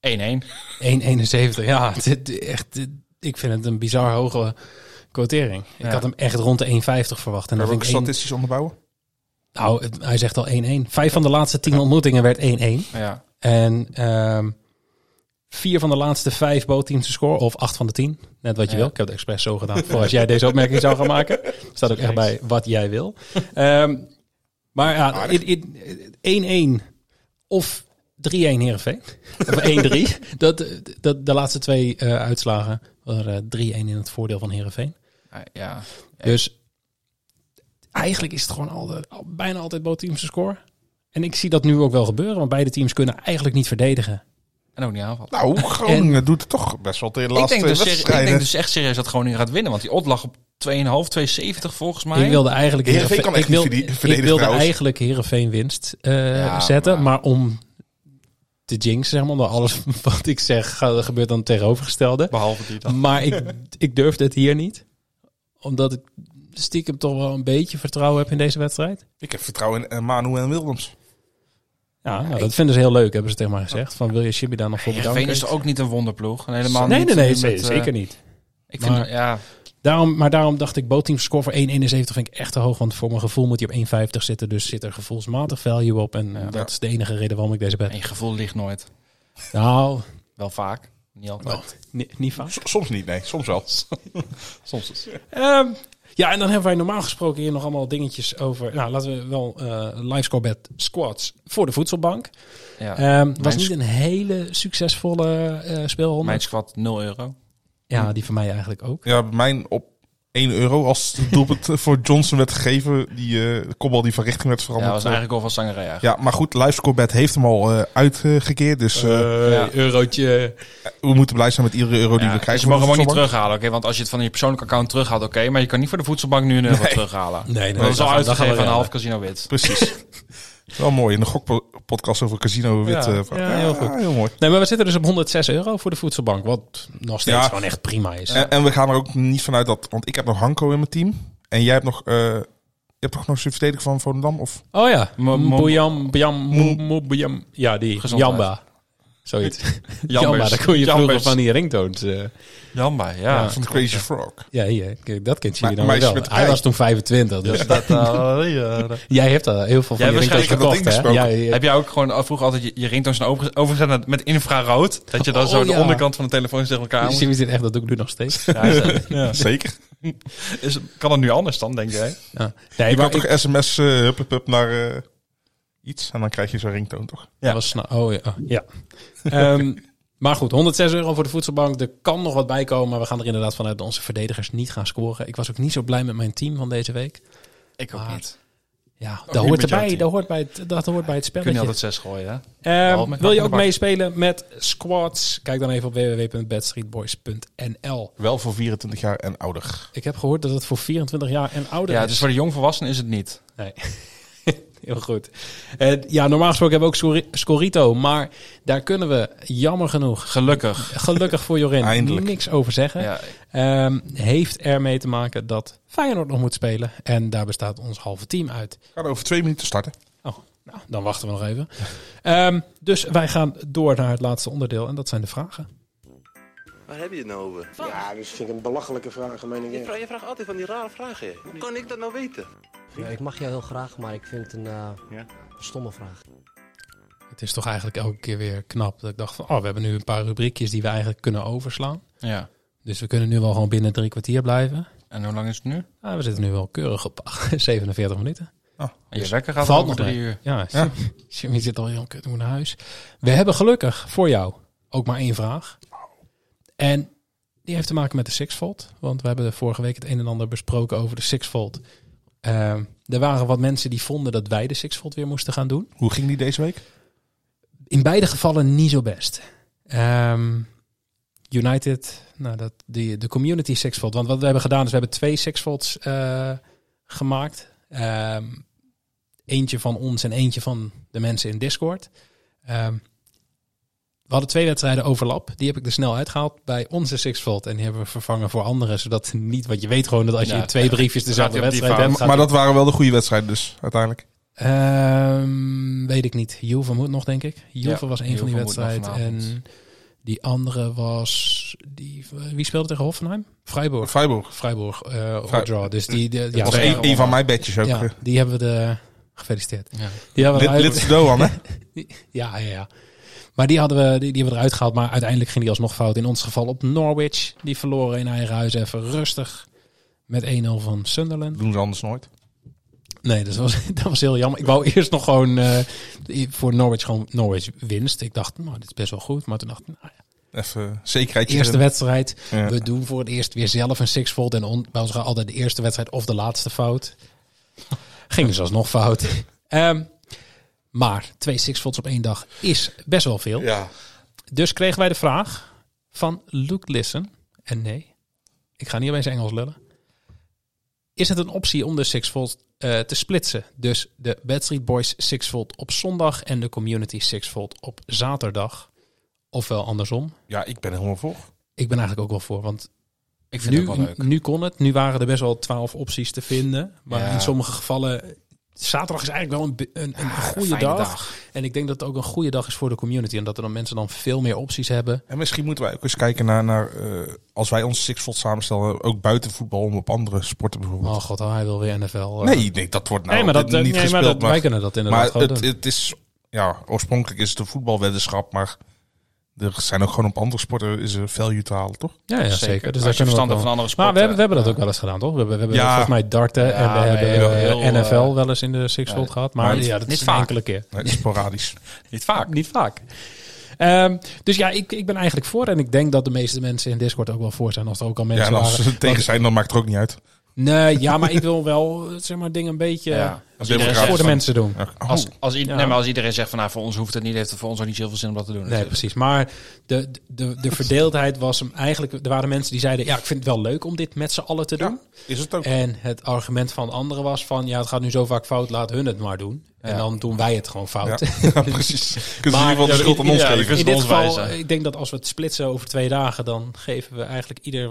Speaker 1: 1,71.
Speaker 6: Ja,
Speaker 1: Ja, dit, echt, dit- ik vind het een bizar hoge quotering.
Speaker 6: Ja.
Speaker 1: Ik had hem echt rond de 1,50 verwacht. En
Speaker 7: Kan
Speaker 1: dan
Speaker 7: je ook
Speaker 1: vind ik één-
Speaker 7: statistisch onderbouwen?
Speaker 1: Nou, het- hij zegt al 1-1. Vijf van de laatste tien ontmoetingen werd 1-1. En ehm, vier van de laatste vijf bootteams te scoren. Of acht van de tien. Net wat je
Speaker 6: Ja.
Speaker 1: wil. Ik heb het expres zo gedaan. Voor als jij deze opmerking zou gaan maken. Staat ook echt bij wat jij wil. Ehm, maar ja,
Speaker 7: Aardig.
Speaker 1: in- in- 1-1 of 3-1 Heerenveen. Of 1-3. dat, dat, de laatste twee eh, uitslagen waren eh, 3-1 in het voordeel van Heerenveen.
Speaker 6: Ah, ja.
Speaker 1: Dus eigenlijk is het gewoon altijd, al- bijna altijd boven teams te scoren. En ik zie dat nu ook wel gebeuren, want beide teams kunnen eigenlijk niet verdedigen.
Speaker 6: En ook niet aanvallen.
Speaker 7: Nou, Groningen doet het toch best wel tegen de
Speaker 6: Ik
Speaker 7: laatste
Speaker 6: denk,
Speaker 7: twee
Speaker 6: dus serie- ik denk
Speaker 7: wedstrijden.
Speaker 6: dus echt serieus dat Groningen gaat winnen. Want die odd lag op 2,5, 2,70 volgens mij.
Speaker 1: Ik wilde eigenlijk
Speaker 7: Heerenveen kan echt
Speaker 1: ik wil-
Speaker 7: niet verde-
Speaker 1: Ik
Speaker 7: verdedigen
Speaker 1: wilde
Speaker 7: trouwens.
Speaker 1: eigenlijk Heerenveen winst eh,
Speaker 6: Ja,
Speaker 1: zetten, maar,
Speaker 6: maar-
Speaker 1: om te jinxen, zeg maar. Omdat alles wat ik zeg eh, gebeurt dan het tegenovergestelde.
Speaker 6: Behalve die dan.
Speaker 1: Maar ik, ik durfde het hier niet. Omdat ik stiekem toch wel een beetje vertrouwen heb in deze wedstrijd.
Speaker 7: Ik heb vertrouwen in eh, Manu en Willems.
Speaker 1: Ja, nou, dat vinden ze heel leuk, hebben ze tegen mij gezegd. Van wil je Chibi daar nog voor
Speaker 6: Heerenveen
Speaker 1: bedanken?
Speaker 6: is er ook niet een wonderploeg. En helemaal
Speaker 1: nee,
Speaker 6: niet
Speaker 1: nee, nee,
Speaker 6: met,
Speaker 1: nee,
Speaker 6: eh,
Speaker 1: zeker niet.
Speaker 6: Ik vind,
Speaker 1: Maar-
Speaker 6: ja,
Speaker 1: Daarom, maar daarom dacht ik, bootteam score voor 1,71 vind ik echt te hoog. Want voor mijn gevoel moet hij op 1,50 zitten. Dus zit er gevoelsmatig value op. En eh, dat is de enige reden waarom ik deze
Speaker 6: en
Speaker 1: ben.
Speaker 6: je gevoel ligt nooit.
Speaker 1: Nou,
Speaker 6: Wel vaak. Niet altijd.
Speaker 1: ni- niet vaak.
Speaker 7: S- soms niet, nee. Soms wel. soms is
Speaker 1: Ehm, ja, en dan hebben wij normaal gesproken hier nog allemaal dingetjes over. Nou, laten we wel eh livescore bed squads voor de voedselbank.
Speaker 6: Ja.
Speaker 1: Ehm, was
Speaker 6: mijn
Speaker 1: niet
Speaker 6: squ-
Speaker 1: een hele succesvolle eh speelronde.
Speaker 6: Mijn squad 0 euro.
Speaker 1: Ja, die van mij eigenlijk ook.
Speaker 7: Ja, mijn op 1 euro als het doelpunt eh, voor Johnson werd gegeven. Die eh kopbal die van richting werd
Speaker 6: Ja,
Speaker 7: veranderd.
Speaker 1: eh.
Speaker 6: was eigenlijk al van Sangaré eigenlijk.
Speaker 7: Ja, maar goed, Livescorebet heeft hem al eh, uitgekeerd. Dus eh,
Speaker 6: ja.
Speaker 1: Eurotje.
Speaker 7: we moeten blij zijn met iedere euro die
Speaker 6: Ja,
Speaker 7: we krijgen.
Speaker 6: ze mogen hem
Speaker 7: van
Speaker 6: ook
Speaker 7: de
Speaker 6: niet
Speaker 7: voetbalbank.
Speaker 6: terughalen, oké? Want als je het van je persoonlijke account terughaalt, oké. maar je kan niet voor de voedselbank nu een euro terughalen.
Speaker 1: Nee, nee,
Speaker 6: dat is
Speaker 1: dan
Speaker 6: al
Speaker 1: gaan- dan gaan we
Speaker 6: uitgegeven aan een
Speaker 1: redden.
Speaker 6: half casino wit.
Speaker 7: Precies. wel mooi. In de gokpodcast over Casino Wit.
Speaker 1: Ja,
Speaker 7: eh, van-
Speaker 1: ja, heel goed.
Speaker 7: heel mooi.
Speaker 1: Nee, maar we zitten dus op 106 euro voor de voedselbank. Wat nog steeds
Speaker 7: Ja.
Speaker 1: gewoon echt prima is.
Speaker 7: En, en we gaan er ook niet vanuit dat... Want ik heb nog Hanko in mijn team. En jij hebt nog... eh, je hebt toch nog een verdediger van Volendam? Of
Speaker 1: Oh ja,
Speaker 6: Mo- mo-
Speaker 1: Mbojam, Bjam, Mo- Mo- Bjam. Ja, die.
Speaker 6: Gezondheid.
Speaker 1: Jamba. Zoiets.
Speaker 6: Jambers.
Speaker 1: Jamba, daar kon je vroeger
Speaker 6: Jambers.
Speaker 1: van die ringtones. eh.
Speaker 6: Jamba, ja.
Speaker 7: van de Crazy Frog?
Speaker 1: ja, hier, kijk, dat kent jullie dan
Speaker 7: Maar- maar is
Speaker 1: wel.
Speaker 7: met
Speaker 1: Hij
Speaker 7: kei.
Speaker 1: was toen 25, dus
Speaker 6: Dat, eh, ja, dat-
Speaker 1: Jij hebt al heel veel van
Speaker 6: Jij
Speaker 1: die ringtones
Speaker 6: waarschijnlijk
Speaker 7: dat
Speaker 1: verkocht, hè?
Speaker 7: ingesproken.
Speaker 1: Ja, ja, ja.
Speaker 6: Heb jij ook gewoon eh, vroeger altijd je, je ringtoons dan overge- overgezet naar- met infrarood? Dat je dan
Speaker 1: Oh,
Speaker 6: zo
Speaker 1: ja.
Speaker 6: de onderkant van de telefoon tegen elkaar moet...
Speaker 1: Zie je dit echt, dat doe ik nu nog steeds.
Speaker 6: Ja, is-
Speaker 7: Zeker.
Speaker 6: is- kan dat nu anders dan, denk jij?
Speaker 1: Ja. Nee,
Speaker 7: Je kan
Speaker 1: maar ik,
Speaker 7: toch sms eh, hup, hup, hup, naar eh, iets en dan krijg je zo'n ringtoon, toch?
Speaker 1: dat was sna- oh ja. oh, ja. Ehm, maar goed, 106 euro voor de voedselbank. Er kan nog wat bij komen, maar we gaan er inderdaad vanuit dat onze verdedigers niet gaan scoren. Ik was ook niet zo blij met mijn team van deze week.
Speaker 6: Ik
Speaker 1: ook
Speaker 6: niet.
Speaker 1: Ja,
Speaker 6: niet
Speaker 1: dat hoort,
Speaker 6: Oh, met jouw
Speaker 1: erbij,
Speaker 6: team.
Speaker 1: dat, hoort bij het, dat hoort bij het
Speaker 6: Kun je
Speaker 1: spelletje.
Speaker 6: altijd zes gooien, hè?
Speaker 1: Ehm,
Speaker 6: Wel, met
Speaker 1: wil je ook
Speaker 6: bak.
Speaker 1: meespelen met squads? Kijk dan even op www.bedstreetboys.nl.
Speaker 7: Wel voor 24 jaar en ouder.
Speaker 1: Ik heb gehoord dat het voor 24 jaar en ouder
Speaker 6: Ja,
Speaker 1: is.
Speaker 6: dus voor de jongvolwassenen is het niet.
Speaker 1: Nee. Heel goed. Eh, ja, normaal gesproken hebben we ook Scori- Scorito. Maar daar kunnen we jammer genoeg,
Speaker 6: Gelukkig.
Speaker 1: gelukkig voor Jorin,
Speaker 7: Eindelijk.
Speaker 1: niks over zeggen.
Speaker 6: Ja,
Speaker 1: Ehm, heeft ermee te maken dat Feyenoord nog moet spelen. En daar bestaat ons halve team uit.
Speaker 7: Gaan over twee minuten starten.
Speaker 1: Oh, nou, dan wachten we nog even. Ehm, dus wij gaan door naar het laatste onderdeel. En dat zijn de vragen.
Speaker 10: Waar heb je het nou over?
Speaker 3: Ja, dat vind ik een belachelijke vraag, meen
Speaker 10: Je, vraagt, je vraagt altijd van die rare vragen. hè. Hoe kan ik dat nou weten?
Speaker 5: Ik mag jou heel graag, maar ik vind het een stomme vraag.
Speaker 1: Het is toch eigenlijk elke keer weer knap. Dat ik dacht van, oh, we hebben nu een paar rubriekjes die we eigenlijk kunnen overslaan.
Speaker 6: ja.
Speaker 1: Dus we kunnen nu wel gewoon binnen drie kwartier blijven.
Speaker 6: En hoe lang is het nu?
Speaker 1: Ah, we zitten nu wel keurig op 47 minuten.
Speaker 6: Je wekker gaat
Speaker 1: Oh, dus Valt
Speaker 6: over
Speaker 1: nog
Speaker 6: drie
Speaker 1: mee.
Speaker 6: uur.
Speaker 1: Ja, Jimmy zit al heel kut moet naar huis. We hebben gelukkig voor jou ook maar één vraag. En die heeft te maken met de Sixfold. Want we hebben vorige week het een en ander besproken over de Sixfold. Ehm er waren wat mensen die vonden dat wij de Sixfold weer moesten gaan doen.
Speaker 7: Hoe ging die deze week?
Speaker 1: In beide gevallen niet zo best. Ehm, United, nou dat, die, de community sixfold. Want wat we hebben gedaan is, we hebben twee sixfolds eh, gemaakt. Ehm, eentje van ons en eentje van de mensen in Discord. Ehm, we hadden twee wedstrijden overlap. Die heb ik er snel uitgehaald bij onze sixfold. En die hebben we vervangen voor anderen. Zodat niet, want je weet gewoon dat als je
Speaker 6: Ja,
Speaker 1: in twee briefjes dezelfde
Speaker 6: gaat hij op die
Speaker 1: wedstrijd hebt.
Speaker 7: Maar dat waren wel de goede wedstrijden dus, uiteindelijk.
Speaker 1: Ehm, weet ik niet. Juve moet nog, denk ik. Juve
Speaker 6: Ja,
Speaker 1: was een van die
Speaker 6: Juve moet nog
Speaker 1: wedstrijden. En
Speaker 6: vanavond.
Speaker 1: die andere was... Die, wie speelde tegen Hoffenheim? Freiburg.
Speaker 7: Freiburg.
Speaker 1: Freiburg, eh
Speaker 7: Vrij-
Speaker 1: draw. Dus die, die-
Speaker 7: Dat
Speaker 1: ja,
Speaker 7: was
Speaker 1: ja,
Speaker 7: een, een van mijn bedjes ook. eh.
Speaker 1: ja,
Speaker 7: Ja.
Speaker 1: die hebben we de... Gefeliciteerd.
Speaker 6: Ja.
Speaker 1: Die hebben we
Speaker 7: Lid,
Speaker 1: eruit-
Speaker 7: lid Doan, hè?
Speaker 1: ja, ja, ja. Maar die, hadden we, die, die hebben we eruit gehaald. Maar uiteindelijk ging die alsnog fout. In ons geval op Norwich. Die verloren in eigen huis even rustig. Met 1-0 van Sunderland.
Speaker 7: Doen ze anders nooit.
Speaker 1: Nee, dat was, dat was heel jammer. Ik wou eerst nog gewoon eh, voor Norwich gewoon Norwich winst. Ik dacht, nou, dit is best wel goed. Maar toen dacht ik, nou ja,
Speaker 7: Even zekerheidje.
Speaker 1: eerste
Speaker 7: erin.
Speaker 1: wedstrijd.
Speaker 7: Ja.
Speaker 1: We doen voor het eerst weer zelf een sixfold. En on, bij ons gaat altijd de eerste wedstrijd of de laatste fout. Ging dus alsnog fout. Ehm, maar twee sixfolds op één dag is best wel veel.
Speaker 7: Ja.
Speaker 1: Dus kregen wij de vraag van Luke Lissen. En nee, ik ga niet opeens Engels lullen. Is het een optie om de Six Volt eh, te splitsen. Dus de Bedstreet Boys Sixfold op zondag en de Community Sixfold op zaterdag. Ofwel andersom.
Speaker 7: Ja, ik ben er helemaal voor.
Speaker 1: Ik ben eigenlijk ook wel voor, want
Speaker 6: Ik vind
Speaker 1: nu,
Speaker 6: het wel leuk.
Speaker 1: nu kon het. Nu waren er best wel twaalf opties te vinden. Maar
Speaker 6: Ja.
Speaker 1: in sommige gevallen... Zaterdag is eigenlijk wel een, be- een, een goede
Speaker 6: Ah, fijne
Speaker 1: dag. En ik denk dat het ook een goede dag is voor de community. En dat er dan mensen dan veel meer opties hebben.
Speaker 7: En misschien moeten wij ook eens kijken naar, naar eh, als wij ons Sixfold samenstellen, ook buiten voetbal, om op andere sporten bijvoorbeeld.
Speaker 1: Oh god, oh, hij wil weer NFL. eh.
Speaker 7: nee, nee, dat wordt nou
Speaker 1: nee, maar dat, eh,
Speaker 7: niet
Speaker 1: nee,
Speaker 7: gespeeld.
Speaker 1: maar
Speaker 7: Maar,
Speaker 1: dat, wij kunnen dat inderdaad
Speaker 7: maar
Speaker 1: gewoon
Speaker 7: het,
Speaker 1: doen.
Speaker 7: het is, ja, oorspronkelijk is het een voetbalweddenschap, maar er zijn ook gewoon op andere sporten is er value te halen, toch?
Speaker 1: ja, ja, zeker.
Speaker 6: Zeker. Nou,
Speaker 1: Dus
Speaker 6: Als
Speaker 1: daar
Speaker 6: je
Speaker 1: kunnen we ook
Speaker 6: verstand hebt van
Speaker 1: wel-
Speaker 6: andere
Speaker 1: Maar we hebben,
Speaker 6: sporten,
Speaker 1: we hebben dat ook wel eens gedaan, toch? We hebben, we hebben
Speaker 7: Ja.
Speaker 1: volgens mij darten en we
Speaker 6: nee,
Speaker 1: hebben
Speaker 6: heel-
Speaker 1: eh,
Speaker 6: heel, eh,
Speaker 1: NFL wel eens in de Sixfold gehad. Maar
Speaker 7: maar
Speaker 1: ja, dat
Speaker 6: niet
Speaker 1: is een
Speaker 6: vaak.
Speaker 1: enkele keer.
Speaker 7: Nee, sporadisch.
Speaker 6: eh, Niet vaak.
Speaker 1: Niet vaak. Ehm, dus ja, ik, ik ben eigenlijk voor. En ik denk dat de meeste mensen in Discord ook wel voor zijn. Als er ook al mensen
Speaker 7: ja, en als
Speaker 1: waren.
Speaker 7: ze tegen zijn, dan maakt het ook niet uit.
Speaker 1: Nee, ja, maar ik wil wel eh, zeg maar, dingen een beetje
Speaker 6: Ja.
Speaker 7: Als
Speaker 1: eh,
Speaker 7: democratisch
Speaker 1: voor de
Speaker 7: dan-
Speaker 1: mensen doen.
Speaker 7: Ja. Oh,
Speaker 6: Als, als, i-
Speaker 1: Ja.
Speaker 6: nee, maar als iedereen zegt van nou, voor ons hoeft het niet, heeft het voor ons ook niet zoveel zin om dat te doen.
Speaker 1: Nee,
Speaker 6: natuurlijk.
Speaker 1: precies. Maar de, de, de verdeeldheid was hem eigenlijk... Er waren mensen die zeiden, ja, ik vind het wel leuk om dit met z'n allen te doen.
Speaker 7: is het ook?
Speaker 1: En het argument van anderen was van, ja, het gaat nu zo vaak fout, laat hun het maar doen. En
Speaker 6: Ja.
Speaker 1: dan doen wij het gewoon fout.
Speaker 7: Oh, Ja, precies. Kunnen ze in
Speaker 1: Maar-
Speaker 7: ieder geval de schuld aan ons
Speaker 6: Ja,
Speaker 7: geven?
Speaker 6: kunnen
Speaker 1: In
Speaker 6: ze
Speaker 1: dit
Speaker 6: ons
Speaker 1: geval, eh,
Speaker 6: wijzen.
Speaker 1: ik denk dat als we het splitsen over twee dagen, dan geven we eigenlijk ieder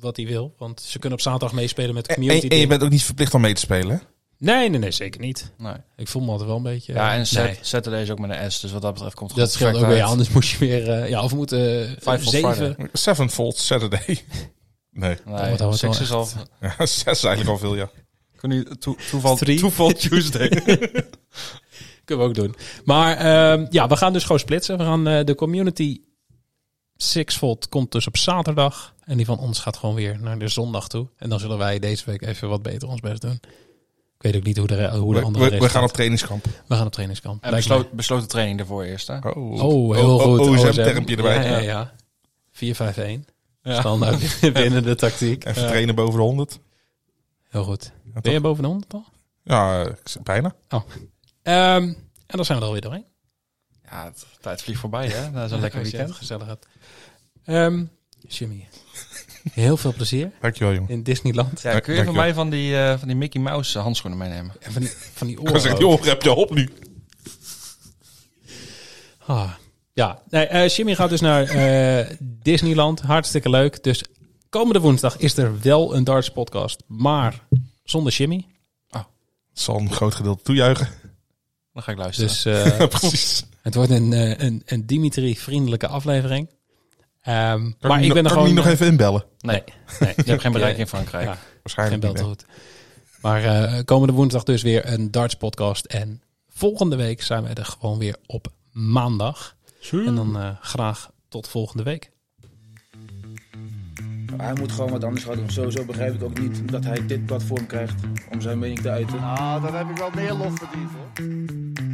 Speaker 1: wat hij wil. Want ze kunnen op zaterdag meespelen met de
Speaker 7: En,
Speaker 1: community.
Speaker 7: en- en Eh, je
Speaker 1: dingen.
Speaker 7: bent ook niet verplicht om mee te spelen, hè?
Speaker 1: Nee, nee, nee, zeker niet.
Speaker 6: Nee.
Speaker 1: Ik voel me altijd wel een beetje... eh,
Speaker 6: Ja, en
Speaker 1: nee.
Speaker 6: zet, zetten deze ook met een S, dus wat dat betreft komt het
Speaker 1: Dat
Speaker 6: goed
Speaker 1: scheelt ook
Speaker 6: perfect
Speaker 1: weer, ja,
Speaker 6: uit.
Speaker 1: anders moest je weer... eh, ja, of we moeten eh,
Speaker 6: Five for
Speaker 1: zeven...
Speaker 6: Friday.
Speaker 7: Sevenfold Saturday. Nee,
Speaker 1: Dan
Speaker 6: Nee,
Speaker 1: wordt- dan wordt
Speaker 6: seks
Speaker 1: wel
Speaker 6: is al...
Speaker 7: ja, zes eigenlijk al veel, ja.
Speaker 6: toeval,
Speaker 1: Three.
Speaker 6: toeval Tuesday.
Speaker 1: Kunnen we ook doen. Maar ehm, ja, we gaan dus gewoon splitsen. We gaan eh, de community Sixfold komt dus op zaterdag. En die van ons gaat gewoon weer naar de zondag toe. En dan zullen wij deze week even wat beter ons best doen. Ik weet ook niet hoe de, re- hoe de
Speaker 7: We,
Speaker 1: andere
Speaker 7: we,
Speaker 1: rest
Speaker 7: we gaan
Speaker 1: gaat.
Speaker 7: op trainingskamp.
Speaker 1: we gaan op trainingskamp.
Speaker 6: En
Speaker 1: Lijkt
Speaker 6: besloot, besloten training ervoor eerst, hè?
Speaker 1: me.
Speaker 7: Oh,
Speaker 1: Oh, heel
Speaker 7: oh,
Speaker 1: goed.
Speaker 7: oh, OSM
Speaker 1: OSM.
Speaker 7: termpje erbij.
Speaker 1: Ja, ja, ja. 4-5-1. Standaard binnen de tactiek.
Speaker 7: Even trainen boven de 100.
Speaker 1: Heel goed.
Speaker 7: Ja,
Speaker 1: Ben je
Speaker 7: toch?
Speaker 1: boven de 100 al?
Speaker 7: ja ik zeg bijna.
Speaker 1: Ehm, en dan zijn we er alweer doorheen.
Speaker 6: Ja, het- tijd vliegt voorbij, hè? Dat is een lekker
Speaker 1: Als je
Speaker 6: weekend.
Speaker 1: het Gezellig had. Ehm, Jimmy, heel veel plezier.
Speaker 7: Dankjewel, jongen.
Speaker 1: in Disneyland.
Speaker 6: Ja, kun je
Speaker 7: Dank
Speaker 6: van
Speaker 7: je.
Speaker 6: mij van die, eh, van die Mickey Mouse eh, handschoenen meenemen?
Speaker 1: En van die, van die
Speaker 7: Ik was
Speaker 1: oren.
Speaker 7: echt,
Speaker 1: ook.
Speaker 7: joh, heb je op nu?
Speaker 1: Ah, ja, nee, eh, Jimmy gaat dus naar eh, Disneyland. Hartstikke leuk. Dus komende woensdag is er wel een darts podcast, maar zonder Jimmy.
Speaker 7: Het zal een groot gedeelte toejuichen.
Speaker 6: Dan ga ik luisteren.
Speaker 1: Dus eh,
Speaker 7: Precies.
Speaker 1: het wordt een, eh, een, een Dimitri-vriendelijke aflevering. Ehm,
Speaker 7: Kan
Speaker 1: maar
Speaker 7: ik
Speaker 1: ik
Speaker 7: nog-
Speaker 1: ben er
Speaker 7: kan
Speaker 1: gewoon...
Speaker 7: ik nog even inbellen?
Speaker 6: nee,
Speaker 1: nee,
Speaker 6: je hebt geen bereik
Speaker 1: eh,
Speaker 6: in Frankrijk.
Speaker 1: ja. Geen
Speaker 7: Waarschijnlijk
Speaker 1: bel
Speaker 7: niet.
Speaker 1: te
Speaker 7: hè.
Speaker 1: goed. Maar eh, komende woensdag dus weer een darts podcast. En volgende week zijn wij er gewoon weer op maandag. En dan eh, graag tot volgende week.
Speaker 9: Hij moet gewoon wat anders gaan doen. Sowieso begrijp ik ook niet dat hij dit platform krijgt om zijn mening te uiten.
Speaker 3: Ah, dat heb ik wel meer lof verdiend, hoor.